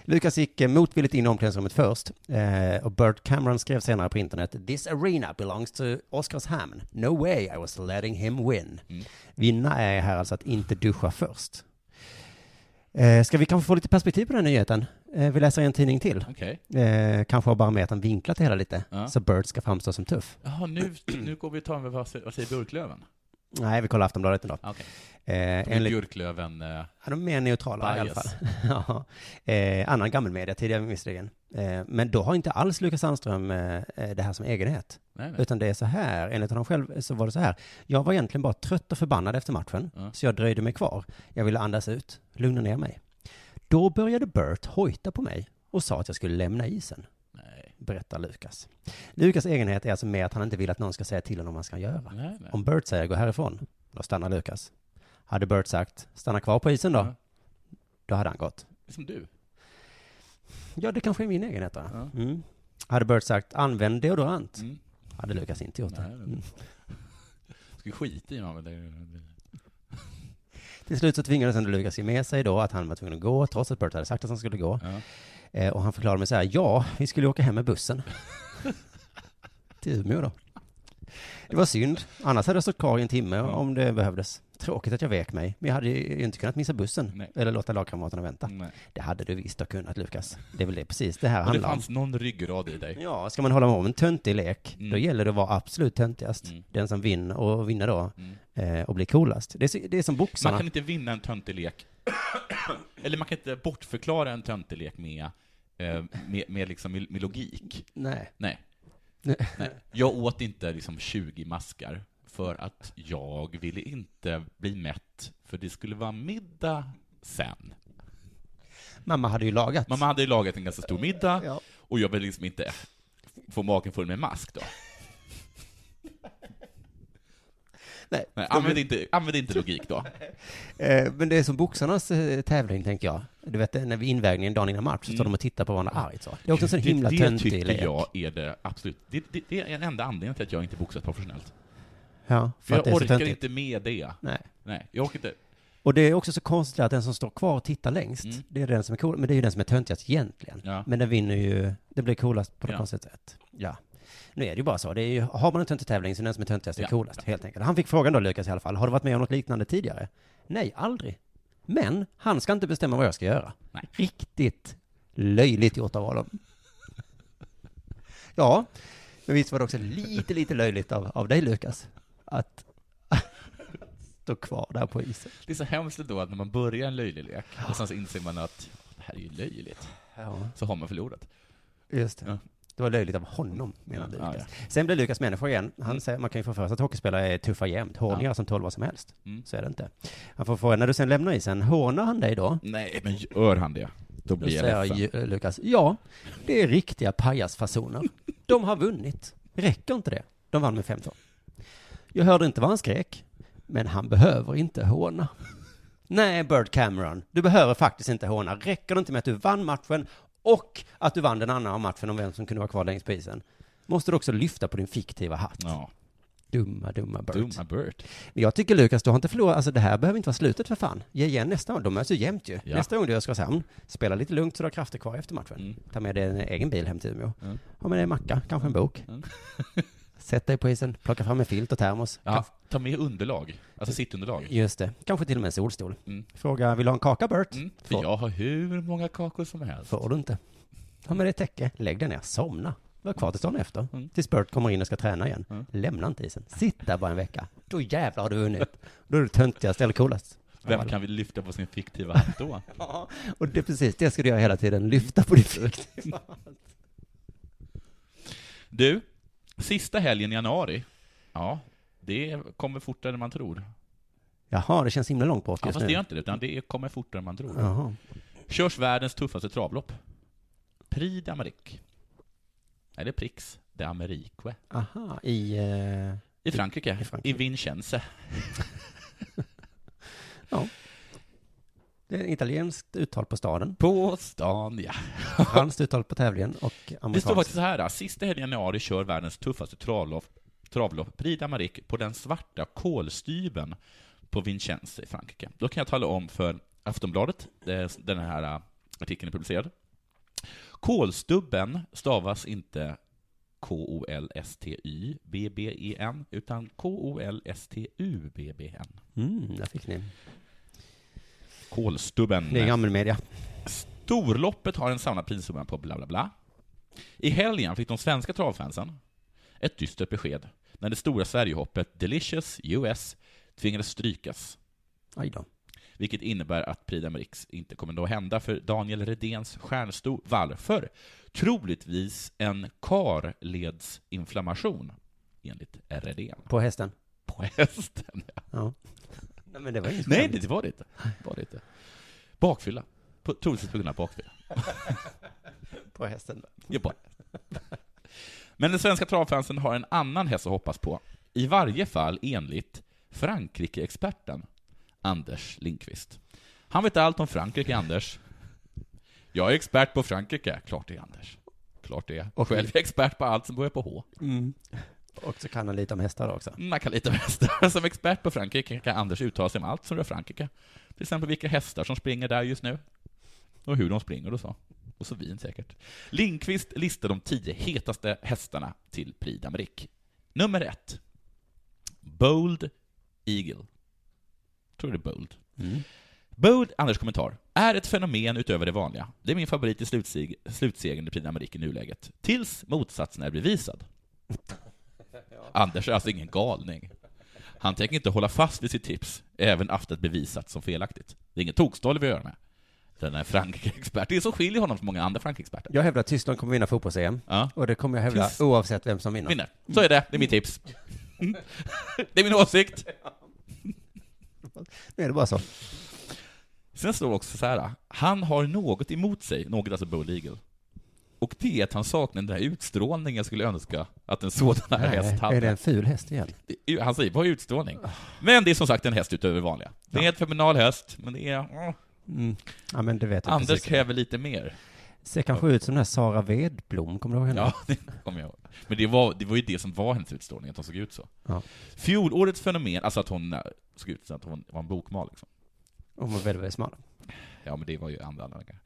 Lukas gick eh, motvilligt in i omklädningsrummet först. Eh, och Bert Cameron skrev senare på internet. This arena belongs to Oskarshamn. No way I was letting him win.
Mm.
Vinna är här alltså att inte duscha först. Eh, ska vi kanske få lite perspektiv på den här nyheten? Eh, vi läser en tidning till.
Okej.
Eh, kanske har barometern vinklat det hela lite.
Ja.
Så Bert ska framstå som tuff.
Jaha, nu, nu går vi och tar med vad säger vad säger Björklöven?
Nej, vi kollar Aftonbladet idag.
Okej.
Eh,
De är
enligt,
Björklöven... Eh,
ja, de är mer neutrala i alla
Bias.
fall. [laughs] ja. eh, annan gammelmedia tidigare visserligen. Eh, men då har inte alls Lukas Sandström eh, eh, det här som egenhet.
nej, nej.
Utan det är så här, enligt honom själv så var det så här. Jag var egentligen bara trött och förbannad efter matchen,
Ja.
så jag dröjde mig kvar. Jag ville andas ut, lugna ner mig. Då började Bert hojta på mig och sa att jag skulle lämna isen,
Nej,
berättar Lukas. Lukas egenhet är alltså med att han inte vill att någon ska säga till honom vad han ska göra.
nej, nej.
Om Bert säger gå härifrån, då stannar Lukas. Hade Bert sagt stanna kvar på isen då,
Ja.
då hade han gått.
Som du.
Ja, det kanske är min egenhet då. Mm. Hade Bert sagt använd deodorant,
Mm.
hade Lukas inte gjort det.
Nej, nej.
Mm.
Ska vi skita i honom? eller?
Till slut så tvingades ändå Lukas ge med sig då att han var tvungen att gå, trots att Bert hade sagt att han skulle gå.
Ja.
Eh, och han förklarade mig så här, ja, vi skulle åka hem
[laughs]
med bussen. Till Umeå då. Det var synd, annars hade jag stått kvar i en timme om det behövdes. Tråkigt att jag vek mig, men jag hade ju inte kunnat missa bussen.
Nej. Mm.
Eller låta lagkamraterna vänta.
Nej.
Det hade du visst ha kunnat, Lukas. Det är väl det, precis det här
Och det
handlar om.
fanns någon ryggrad i dig.
Ja, ska man hålla om en töntig lek,
Mm.
då gäller det att vara absolut töntigast.
Mm.
Den som vinner, och vinner då,
Mm.
eh, och blir coolast. Det är, så- det är som boxarna.
Man kan inte vinna en töntig lek. Eller man kan inte bortförklara en töntig lek med, eh, med, med, liksom, med, med logik.
Nej.
Nej.
Nej.
Nej. Jag åt inte liksom 20 maskar för att jag ville inte bli mätt, för det skulle vara middag sen.
Mamma hade ju lagat.
Mamma hade ju lagat en ganska stor middag,
Ja.
och jag ville liksom inte få magen full med mask då.
Nej.
Nej, använd, inte, använd inte logik då.
Eh, men det är som boxarnas eh, tävling, tänker jag. Du vet, när vi invägningen dagen innan match, så står de och tittar på varandra argt så. Det är också en sån himla
Mm. det, det
töntig
tycker
lek.
jag är det absolut. Det, det, det är den enda anledningen till att jag inte boxat professionellt.
Ja, för
För
att det
jag
är så
orkar
töntigt.
inte med det.
Nej.
Nej, jag orkar inte.
Och det är också så konstigt att den som står kvar och tittar längst,
Mm.
det är den som är cool, men det är ju den som är töntigast egentligen.
Ja.
Men den vinner ju, det blir coolast på något
Ja.
konstigt sätt. Ja. Nu är det ju bara så, det är ju, har man en töntig tävling så är den som är töntigast är
Ja.
coolast, helt enkelt. Han fick frågan då, Lukas i alla fall, har du varit med om något liknande tidigare? Nej, aldrig. Men han ska inte bestämma vad jag ska göra.
Nej.
Riktigt löjligt gjort av honom. Ja, men visst var det också lite, lite löjligt av, av dig Lukas, att [laughs] stå kvar där på isen.
Det är så hemskt då att när man börjar en löjlig lek, och sen så inser man att det här är ju löjligt,
Ja.
så har man förlorat.
Just det.
Ja.
Det var löjligt av honom, menar
Ja, Mm.
Lukas. Sen blir Lukas människa igen. Han säger, man kan ju få för sig att hockeyspelare är tuffa jämt, hårdingar
Ja.
som tål vad som helst.
Mm.
Så är det inte. Han får frågan, när du sen lämnar isen, hånar han dig då?
Nej, men gör han det, då blir
säger
jag ledsen.
ju, eh, Lukas, ja, det är riktiga pajasfasoner. De har vunnit. Räcker inte det? De vann med 15. Jag hörde inte vad han skrek, men han behöver inte håna. Nej, Bird Cameron, du behöver faktiskt inte håna. Räcker det inte med att du vann matchen och att du vann den andra matchen om vem som kunde vara kvar längst på isen? Måste du också lyfta på din fiktiva hatt?
Ja.
Dumma, dumma Bert.
Dumma Bert.
Men jag tycker Lukas, du har inte förlorat, alltså det här behöver inte vara slutet för fan. Ge igen nästa gång, de möts ju jämt ju.
Ja.
Nästa gång du är i Oskarshamn, spela lite lugnt så du har krafter kvar efter matchen.
Mm.
Ta med dig en egen bil hem till Umeå.
Mm.
Ha med dig en macka, kanske en bok.
Mm.
[laughs] Sätt dig på isen, plocka fram en filt och termos.
Ja,
Kanske-
ta med underlag, alltså sittunderlag.
Just det, kanske till och med en solstol.
Mm.
Fråga, vill du ha en kaka Bert?
Mm, för
Får,
jag har hur många kakor som helst.
får du inte. Ha med dig ett täcke, lägg dig ner, somna. Var kvar tills dagen efter.
Mm.
Tills Bert kommer in och ska träna igen. Lämna inte isen. Sitt där bara en vecka. Då jävlar har du vunnit. Då är du töntigast eller coolast.
Vem kan vi lyfta på sin fiktiva hatt [laughs] då?
Ja, och det, precis det ska du göra hela tiden, lyfta på din fiktiva.
Du, sista helgen i januari. Ja, det kommer fortare än man tror.
Jaha, det känns himla långt bort
Ja,
just
fast det
nu.
gör inte det, utan det kommer fortare än man tror.
Jaha.
Körs världens tuffaste travlopp. Prix d'Amérique. Eller Prix d'Amérique.
Aha, i... Eh,
I Frankrike.
I
I,
Frankrike.
Vincenze.
det är italienskt uttal på staden,
På stan, [laughs] ja.
franskt uttal på tävlingen och
Det står faktiskt
amerikanskt.
så här. då. Sista helgen i januari kör världens tuffaste travlopp, travlopp Prix d'Amérique på den svarta kolstyben på Vincennes i Frankrike. Då kan jag tala om för Aftonbladet, eh, den här eh, artikeln är publicerad. Kolstubben stavas inte K-O-L-S-T-Y-B-B-E-N, E utan K-O-L-S-T-U-B-B-N.
Mm, där fick ni.
Kolstubben.
Det är gammal media.
Storloppet har en samlad prissumma på bla bla bla. I helgen fick de svenska travfansen ett dystert besked när det stora Sverigehoppet Delicious US tvingades strykas,
Aj då.
vilket innebär att Prix d'Amérique inte kommer då hända för Daniel Redéns stjärnstor. Varför? Troligtvis en karledsinflammation, enligt Redén.
På hästen.
På hästen.
Ja. Nej, men det var inget
Nej,
skämt.
det var det inte. Det Var det inte. Bakfylla. På- Troligtvis på grund av bakfylla.
På hästen.
Ja, bara. Men den svenska travfansen har en annan häst att hoppas på. I varje fall enligt Frankrike-experten Anders Lindqvist. Han vet allt om Frankrike, Anders. Jag är expert på Frankrike. Klart det, Anders. Klart det. Och själv är jag expert på allt som börjar på H.
Och så kan han lite om hästar också.
Mm, Man kan lite om hästar. [laughs] Som expert på Frankrike kan Anders uttala sig om allt som rör Frankrike. Till exempel vilka hästar som springer där just nu. Och hur de springer och så. Och så vin säkert. Lindqvist listar de tio hetaste hästarna till Prix d'Amérique. Nummer ett. Bold Eagle. Tror det är Bold. Bold, Anders kommentar, är ett fenomen utöver det vanliga. Det är min favorit i slutseg- slutsegern i Prix d'Amérique i nuläget. Tills motsatsen är bevisad. Anders är alltså ingen galning. Han tänker inte hålla fast vid sitt tips, även efter att bevisat som felaktigt. Det är ingen tokstolle vi har att göra med. Den här Frankrike-experten, det är som skiljer honom från många andra Frankrike-experter.
Jag hävdar att Tyskland kommer vinna fotbolls-EM.
Ja.
Och det kommer jag hävda
Tyst-
oavsett vem som vinner.
Vinner. Så är det, det är mitt tips. [laughs] Det är min åsikt.
Nu är det bara så.
Sen står det också så här, han har något emot sig, något alltså Bull Eagle. Och det är att han saknar den där utstrålningen jag skulle önska att en sådan här häst
är det
hade.
en ful häst igen?
Han säger, vad är utstrålning? Men det är som sagt en häst utöver det vanliga. Det är ett fenomenal häst, men det är...
Ja, men det vet jag
Anders
precis.
kräver lite mer.
Ser kanske ut som den här Sara Vedblom, kommer du ihåg henne?
Ja, [laughs] det kommer jag ihåg. Men det var, det var ju det som var hennes utstrålning, att hon såg ut så.
Ja.
Fjolårets fenomen, alltså att hon eh, såg ut som att hon var en bokmal liksom.
Hon var väldigt, väldigt smal.
Ja, men det var ju andra anledningar.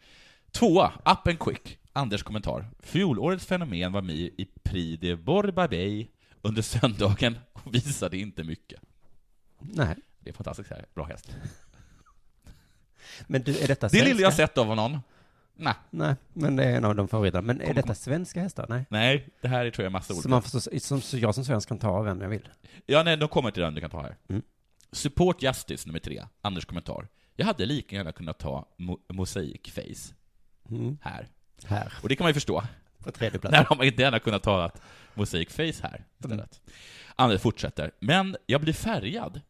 Tvåa, Up and Quick. Anders kommentar. Fjolårets fenomen var med i Prix de Borbabey under söndagen och visade inte mycket.
Nej.
Det är fantastiskt här. Bra häst.
Men du, är detta
Det
svenska?
lilla jag sett av honom. Nej,
Nej, men det är en av de favoriterna. Men är
Kom,
detta
kom.
svenska hästar? Nej.
nej, det här är tror jag massa
Så,
olika.
man förstår, som, så jag som svensk kan ta vem jag vill.
Ja, nej, de kommer till den du kan ta här.
Mm.
Support Justice nummer tre, Anders kommentar. Jag hade lika gärna kunnat ta Mo- Mosaic Face
Mm.
här.
Här.
Och det kan man ju förstå.
På tredje plats.
När har man inte gärna kunnat ta att musikface här istället. Anders fortsätter. Men jag blir färgad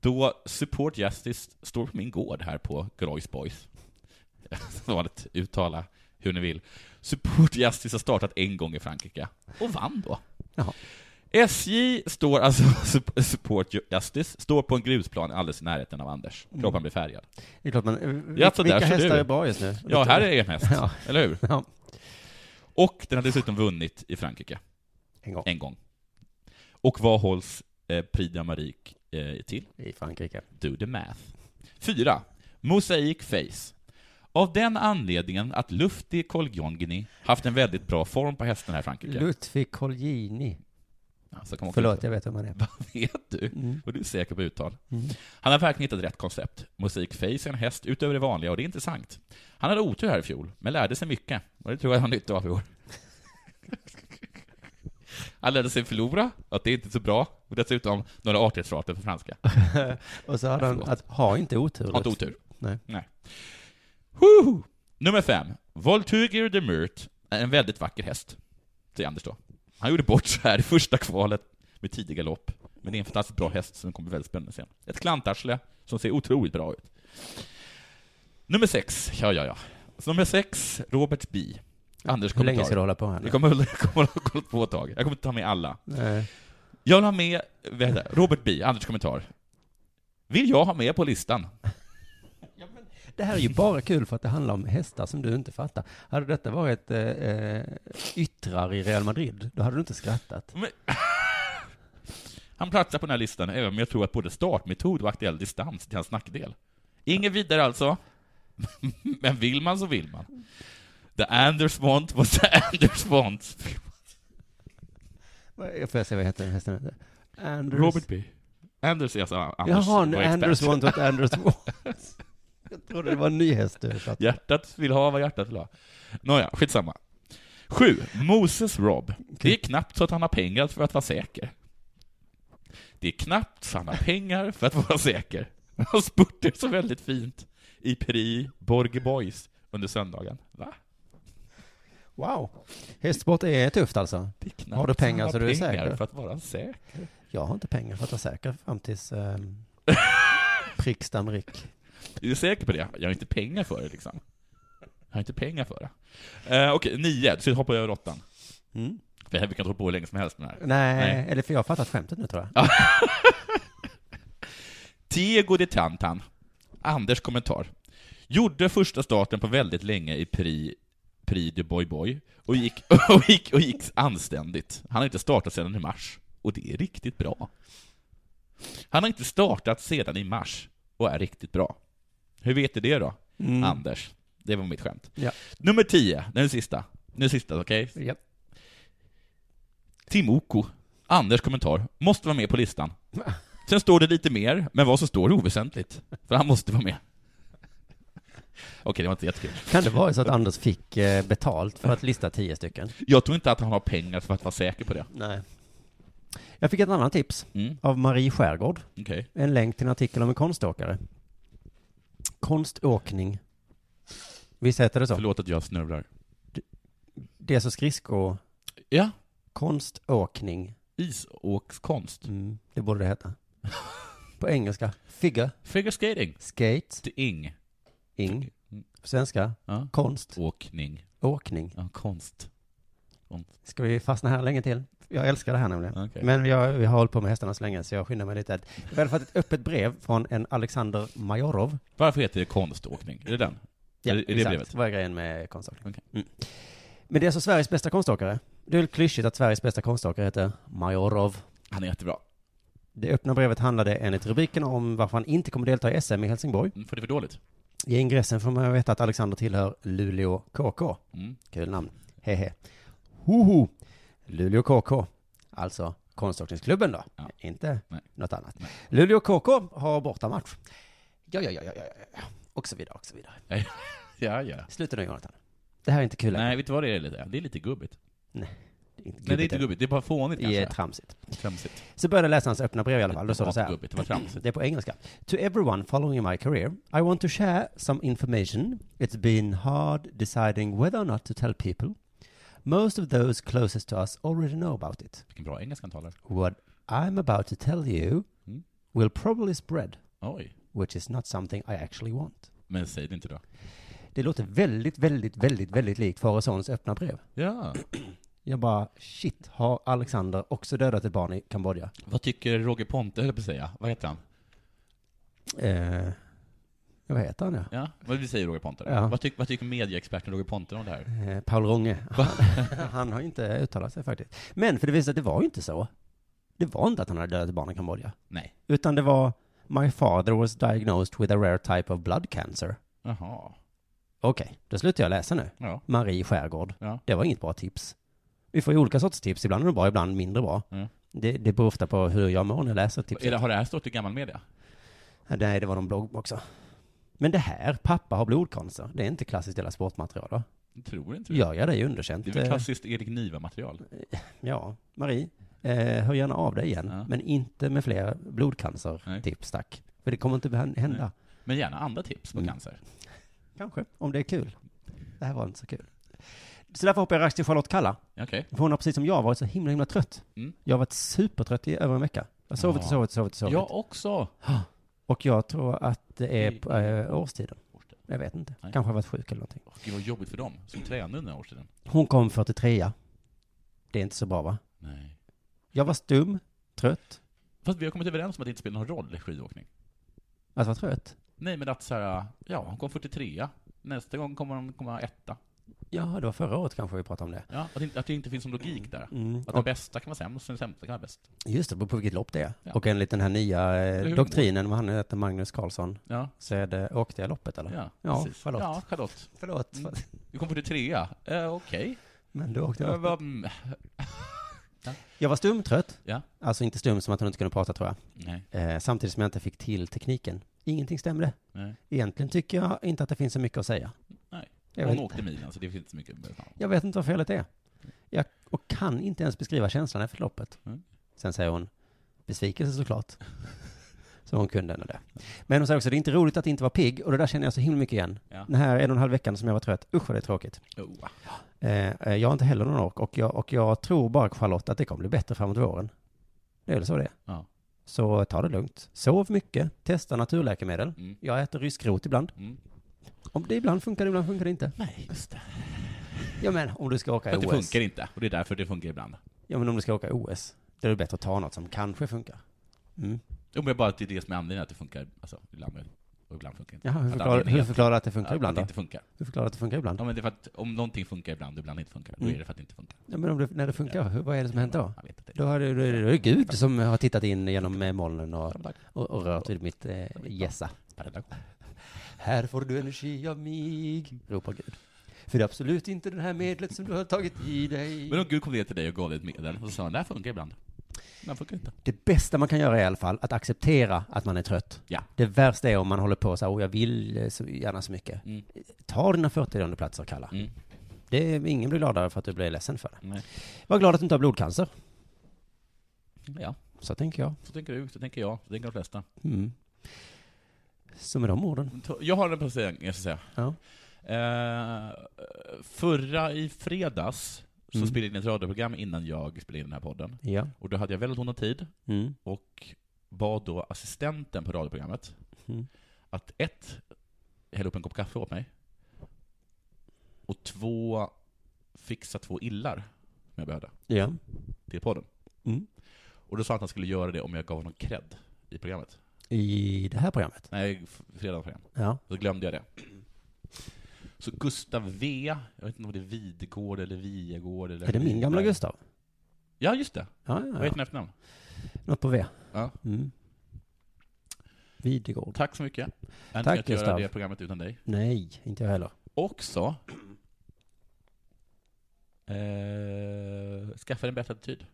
då Support Justice står på min gård här på Groys Boys. [laughs] Vanligt uttala hur ni vill. Support Justice har startat en gång i Frankrike och vann då. SJ står alltså, [laughs] Sup- Support Justice, står på en grusplan alldeles i närheten av Anders. Kroppen blir färgad.
Det är klart, men
Ja,
vilka,
så där
vilka
ser
hästar
du.
är bra just nu?
Ja, här är en häst.
Ja.
Eller hur?
Ja.
Och den har dessutom vunnit i Frankrike.
En gång.
Och vad hålls eh, Prix d'Amérique eh, till?
I Frankrike.
Do the math. 4. Mosaic Face. Av den anledningen att Lufti Kolgjongni haft en väldigt bra form på hästen här i Frankrike.
Lutfi Colgjini.
Alltså, kan man-
Förlåt, jag vet vem han är.
Vet du?
Mm.
Och du är säker på uttal?
Mm.
Han har verkligen hittat rätt koncept. Musikface är en häst utöver det vanliga och det är intressant. Han hade otur här i fjol, men lärde sig mycket. Och det tror jag han har nytta av i år. [laughs] Han lärde sig förlora, att det inte är så bra, och dessutom några artighetsfraser på franska.
Och så hade han
Förlåt.
att ha inte otur.
Har inte otur.
Nej.
Nej. Woo! Nummer fem. Voltuger de Murt är en väldigt vacker häst. Säger Anders då. Han gjorde bort sig här i första kvalet med tidiga lopp. Men det är en fantastiskt bra häst som kommer bli väldigt spännande sen. Ett klantarsle som ser otroligt bra ut. Nummer sex. Ja, ja, ja. Så nummer sex, Robert B. Anders
Hur länge
kommentarer.
ska du hålla på här? nu? Eh,
Jag kommer, [laughs] jag kommer att hålla på ett tag. Jag kommer inte ta med alla.
Nej.
Jag vill ha med, vänta, Robert B. Anders kommentar. Vill jag ha med på listan?
Det här är ju bara kul för att det handlar om hästar som du inte fattar. Hade detta varit eh, eh, yttrar i Real Madrid, då hade du inte skrattat.
Han platsar på den här listan även om jag tror att både startmetod och aktuell distans till hans nackdel. Ingen vidare alltså. [laughs] Men vill man så vill man. The Anders Font was the [laughs] Anders Font.
Vad- Får jag se vad heter hästen heter? Anders...
Robert B. Anders är alltså Anders.
Jaha,
vår
nu
expert.
Anders want what Anders wants. Jag trodde det var en ny häst du satt.
Hjärtat vill ha vad hjärtat vill ha. Nåja, skitsamma. Sju. Moses Rob. Det är knappt så att han har pengar för att vara säker. Det är knappt så han har pengar för att vara säker. Han spurtade så väldigt fint i Peri Borge Boys under söndagen. Va?
Wow. Hästsport är tufft alltså.
Det är knappt
Har du
så han
pengar
har
så du är
pengar
säker?
för att vara säker.
Jag har inte pengar för att vara säker fram tills eh, Prix d'Amérique.
Är du säker på det? Jag har inte pengar för det liksom. Jag har inte pengar för det. Eh, Okej, nio. Så hoppar jag över åttan.
Mm.
För här- vi kan inte hålla på hur länge som helst med det här.
Nej, eller för jag har fattat skämtet nu tror jag.
Diego de Tantan. Anders kommentar. Gjorde första starten på väldigt länge i Prix, Prix de Boy Boy och gick, [laughs] och, gick, och gick anständigt. Han har inte startat sedan i mars. Och det är riktigt bra. Han har inte startat sedan i mars och är riktigt bra. Hur vet du det då?
Mm.
Anders. Det var mitt skämt.
Ja.
Nummer 10, den sista. Nu sista, okej?
Ja.
Timoko. Anders kommentar. Måste vara med på listan. Sen står det lite mer, men vad som står är oväsentligt. För han måste vara med. Okej, det var inte jättekul.
Kan det vara så att Anders fick eh, betalt för att lista tio stycken?
Jag tror inte att han har pengar för att vara säker på det.
Nej. Jag fick ett annat tips
Mm.
av Marie Skärgård.
Okej.
En länk till en artikel om en konståkare. Konståkning. Visst heter det så?
Förlåt att jag snurrar.
Det är så skridsko...
Ja,
Konståkning.
isåkskonst.
Mm, det borde det
[laughs]
heta. På engelska. Figure.
Figure skating.
Skate.
Ing.
Ing. På svenska.
Ja.
Konst.
Åkning.
Åkning.
Ja, konst.
Ska vi fastna här länge till? Jag älskar det här nämligen.
Okej.
Men vi har, vi har hållit på med hästarna så länge så jag skyndar mig lite. Jag har fått ett öppet brev från en Alexander Majorov.
Varför heter det konståkning? Är det den? är det, är det
exakt.
brevet?
Vad är grejen med konståkning?
Okej.
Mm. Men det är alltså Sveriges bästa konståkare. Det är väl klyschigt att Sveriges bästa konståkare heter Majorov.
Han är jättebra.
Det öppna brevet handlade enligt rubriken om varför han inte kommer delta i SM i Helsingborg.
Mm, För det är för dåligt.
I ingressen får man veta att Alexander tillhör Luleå KK.
Mm.
Kul namn. Hehe. Hoho. Luleå KK. Alltså konståkningsklubben då.
Ja.
Inte
Nej.
något annat.
Nej.
Luleå KK har bortamatch. Ja, ja, ja, ja, ja, ja, ja. Och så vidare, och så vidare.
Ja, ja.
Sluta nu Jonathan. Det här är inte kul längre.
Nej, vet du vad det är lite? Det är lite gubbigt.
Det är inte
Nej, det är inte gubbigt. Det är bara fånigt
Det är
kanske.
tramsigt.
Tramsigt.
Så började jag läsa hans öppna brev i alla fall. Då
Det
står
var
det så
inte
här.
gubbigt, det var tramsigt.
[clears throat] Det är på engelska. To everyone following my career, I want to share some information. It's been hard deciding whether or not to tell people. Most of those closest to us already know about it.
Vilken bra engelska han talar.
What I'm about to tell you
Mm.
will probably spread,
Oj.
which is not something I actually want.
Men säg det inte då.
Det låter väldigt, väldigt, väldigt, väldigt likt Faresons öppna brev.
Ja.
Jag bara, shit, har Alexander också dödat ett barn i Kambodja?
Vad tycker Roger Ponte, höll jag på att säga. Vad heter han?
Eh, vad heter han ja?
Ja, vad vi säger Roger Ponte.
Ja.
Vad, tyck, vad tycker medieexperten Roger Ponte om det här?
Eh, Paul Ronge. [laughs] Han har inte uttalat sig faktiskt. Men för det visar sig att det var ju inte så. Det var inte att han hade dödat ett barn i Kambodja.
Nej.
Utan det var My father was diagnosed with a rare type of blood cancer.
Jaha.
Okej, då slutar jag läsa nu.
Ja.
Marie Skärgård.
Ja.
Det var inget bra tips. Vi får ju olika sorts tips. Ibland är de bra, ibland mindre bra.
Mm.
Det, det beror ofta på hur jag mår när jag läser tipset.
Är det, har det här stått i gammal media?
Nej, det var någon blogg också. Men det här, pappa har blodcancer, det är inte klassiskt jävla sportmaterial då.
Jag tror inte det.
Gör jag dig underkänt?
Typ. Det är väl
eh,
klassiskt Erik Niva-material?
Ja, Marie, eh, hör gärna av dig igen,
Ja.
men inte med fler blodcancertips tack. För det kommer inte hän- hända.
Men gärna andra tips på cancer.
Kanske, om det är kul. Det här var inte så kul. Så därför hoppar jag rakt till Charlotte Kalla.
Okej.
För hon har precis som jag varit så himla, himla trött.
Mm.
Jag har varit supertrött i över en vecka. Jag har sovit och
Ja.
sovit och sovit och sovit.
Jag också.
Och jag tror att det är
I-
på, eh, årstiden. Jag vet inte.
Nej.
Kanske har jag varit sjuk eller någonting.
Åh, Gud vad jobbigt för dem som tränade under den här årstiden.
Hon kom 43 Det är inte så bra va?
Nej.
Jag var stum, trött,
Fast vi har kommit överens om att det inte spelar någon roll i skidåkning.
att vara Alltså, trött.
Nej, men att så här, ja, hon kom 43 Nästa gång kommer hon komma etta.
Ja, det var förra året kanske vi pratade om det.
Ja, att, det inte, att det inte finns någon logik där.
Mm.
Att
Och-
den bästa kan vara sämst, den sämsta kan vara bäst.
Just det, det beror på vilket lopp det är.
Ja.
Och enligt den här nya eh,
hur-
doktrinen, vad han heter, Magnus Karlsson,
Ja,
så är det, åkte jag loppet eller?
ja,
Ja,
precis.
Charlotte.
Ja, Charlotte.
Förlåt.
Mm. Du kom 43 eh, Okej.
Men du åkte
Jag
loppet.
bara, mm,
Jag var stum, trött.
Ja.
Alltså inte stum som att hon inte kunde prata tror jag.
Nej,
Eh, samtidigt som jag inte fick till tekniken. Ingenting stämde.
nej.
Egentligen tycker jag inte att det finns så mycket att säga.
Nej.
Jag
Hon
vet,
åkte milen, så det finns inte så mycket.
jag vet inte vad felet är. Jag och kan inte ens beskriva känslan efter loppet.
Mm.
Sen säger hon besvikelse såklart. [laughs] så hon kunde ändå det. Men hon säger också det är inte roligt att inte vara pigg och det där känner jag så himla mycket igen.
Ja.
Den här en och en halv veckan som jag var trött, usch vad det är tråkigt.
Oh.
Eh, eh, jag har inte heller någon ork och jag, och jag tror bara Charlotte att det kommer bli bättre framåt våren. Det är väl så det är.
Ja.
Så ta det lugnt. Sov mycket, testa naturläkemedel.
Mm.
Jag äter rysk rot ibland.
Mm.
Om det ibland funkar, det, ibland funkar det inte.
Nej, just det.
Ja men om du ska
För
åka
att det
OS.
funkar inte, och det är därför det funkar ibland.
Ja men om du ska åka OS, då är det bättre att ta något som kanske funkar. Mm.
Jo, men bara att det är det som är anledningen att det funkar, alltså, ibland och ibland funkar det inte.
Jaha, hur
Att
förklarar,
anledningen
hur förklarar du att det funkar
är att
ibland
det
då?
inte funkar.
Hur förklarar du att det funkar ibland?
Ja, men det är för att om någonting funkar ibland och ibland inte funkar, då
Mm.
är det för att det inte funkar.
Ja men om det, när det funkar, hur, vad är det som har hänt då?
Jag vet inte.
Då har det- då är det, då är det Gud som har tittat in genom eh, molnen och, och, och rört vid mitt eh, gässa. Här får du energi av mig, ropar Gud. För det är absolut inte det här medlet som du har tagit i dig.
Men om Gud kom ner till dig och gav dig ett medel, och så sa han, det här funkar ibland. Det här funkar inte.
Det bästa man kan göra är i alla fall att acceptera att man är trött.
Ja.
Det värsta är om man håller på så här, åh jag vill eh, så gärna så mycket.
Mm.
Ta dina 40 platser Kalla.
Mm.
Det är, ingen blir gladare för att du blir ledsen för det.
Nej.
Var glad att du inte har blodcancer.
Ja,
Så tänker jag.
så tänker du, så tänker jag, så tänker de flesta.
Mm. Så med de orden.
Jag har en placering, jag ska säga.
Ja.
Eh, förra i fredags så
Mm.
spelade jag in ett radioprogram innan jag spelade in den här podden.
Ja.
Och då hade jag väldigt ont om tid
Mm.
och bad då assistenten på radioprogrammet
Mm.
att ett, hälla upp en kopp kaffe åt mig. Och två, fixa två illar som jag behövde
Ja.
till podden.
Mm.
Och då sa han att han skulle göra det om jag gav honom cred i programmet.
I det här programmet.
Nej, f- fredagens program.
Ja.
Och Då glömde jag det. Så Gustav V, jag vet inte om det är Vidgård eller Viegård eller...
Är det min gamla
Wiberg.
Gustav?
Ja, just det.
Ja,
Vad
ja,
heter
ja.
han i efternamn?
Något på V.
Ja.
Mm. Videgård.
Tack så mycket. Jag hade
Tack,
inte kunnat göra
Gustav.
det programmet utan dig.
Nej, inte jag heller.
Också... Eh, skaffa en bättre attityd.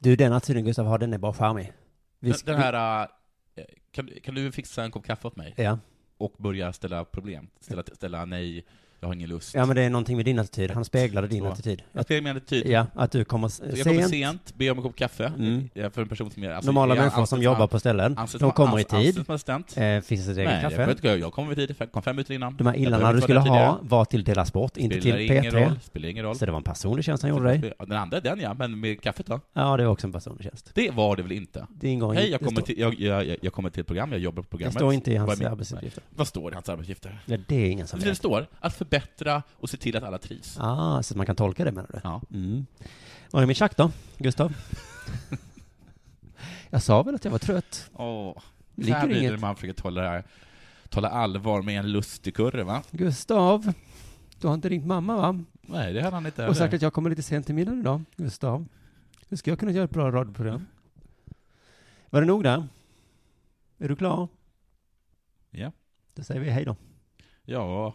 Du, den attityden Gustav har, den är bara charmig. Vi
Den,
sk-
den här... eh, Kan, kan du fixa en kopp kaffe åt mig?
Ja.
Och börja ställa problem. Ställa, ställa nej, jag har ingen lust.
Ja, men det är någonting med din attityd. Han speglade din attityd.
Jag spelar min attityd.
Ja, att du kommer s-
Så jag kommer
sent.
sent, ber om en kopp kaffe.
Mm.
Eh, För en person som är...
Normala
jag
människor som
anses-
jobbar på ställen,
anses-
de kommer i
ans-
tid.
anses som assistent.
Eh, finns det ett eget
Nej,
kaffe?
Jag, vet inte, jag kommer i tid, kom fem minuter innan.
De här
Jag
illarna
behöver
du skulle
föra tidigare.
ha var till Dela Sport, inte till
Spelar ingen
P3.
roll, spelar ingen roll.
Så det var en personlig tjänst han gjorde dig.
Ja, Den andra är den ja, men med kaffet då?
Ja, det var också en personlig tjänst.
Det var det väl inte?
Det ingår i-
Hej, jag
det
kommer,
står-
till, jag, jag, jag- jag kommer till ett program, jag jobbar på programmet.
står inte i hans
Vad är min-
arbetsuppgifter.
Nej. Vad står det i hans arbetsuppgifter?
Ja, det är ingen som
Det
vet.
står att förbättra och se till att alla trivs.
Ah, så att man kan tolka det menar du?
Ja.
Mm. Var är min tjack då, Gustav?
[laughs]
jag sa väl att jag var trött?
Åh, så
Ligger
här blir det
inget-
när man försöker tala, det här, tala allvar med en lustig kurre, va?
Gustav, du har inte ringt mamma va?
Nej, det hade han inte.
Och sagt att jag kommer lite sent till middagen idag, Gustav. Hur ska jag kunna göra ett bra radioprogram? Var det nog där? Är du klar?
Ja.
Då säger vi hej då.
Ja.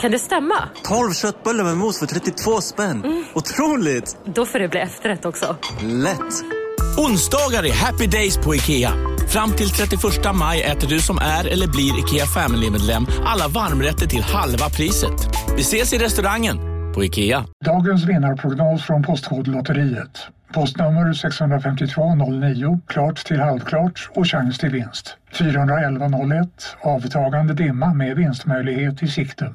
Kan det stämma?
12 köttbullar med mos för 32 spänn. Otroligt!
Då får det bli efterrätt också.
Lätt!
Onsdagar är happy days på IKEA. Fram till 31 maj äter du som är eller blir IKEA Family-medlem alla varmrätter till halva priset. Vi ses i restaurangen på IKEA.
Dagens vinnarprognos från Postkodlotteriet. Postnummer 65209, klart till halvklart och chans till vinst. 41101, avtagande dimma med vinstmöjlighet i sikte.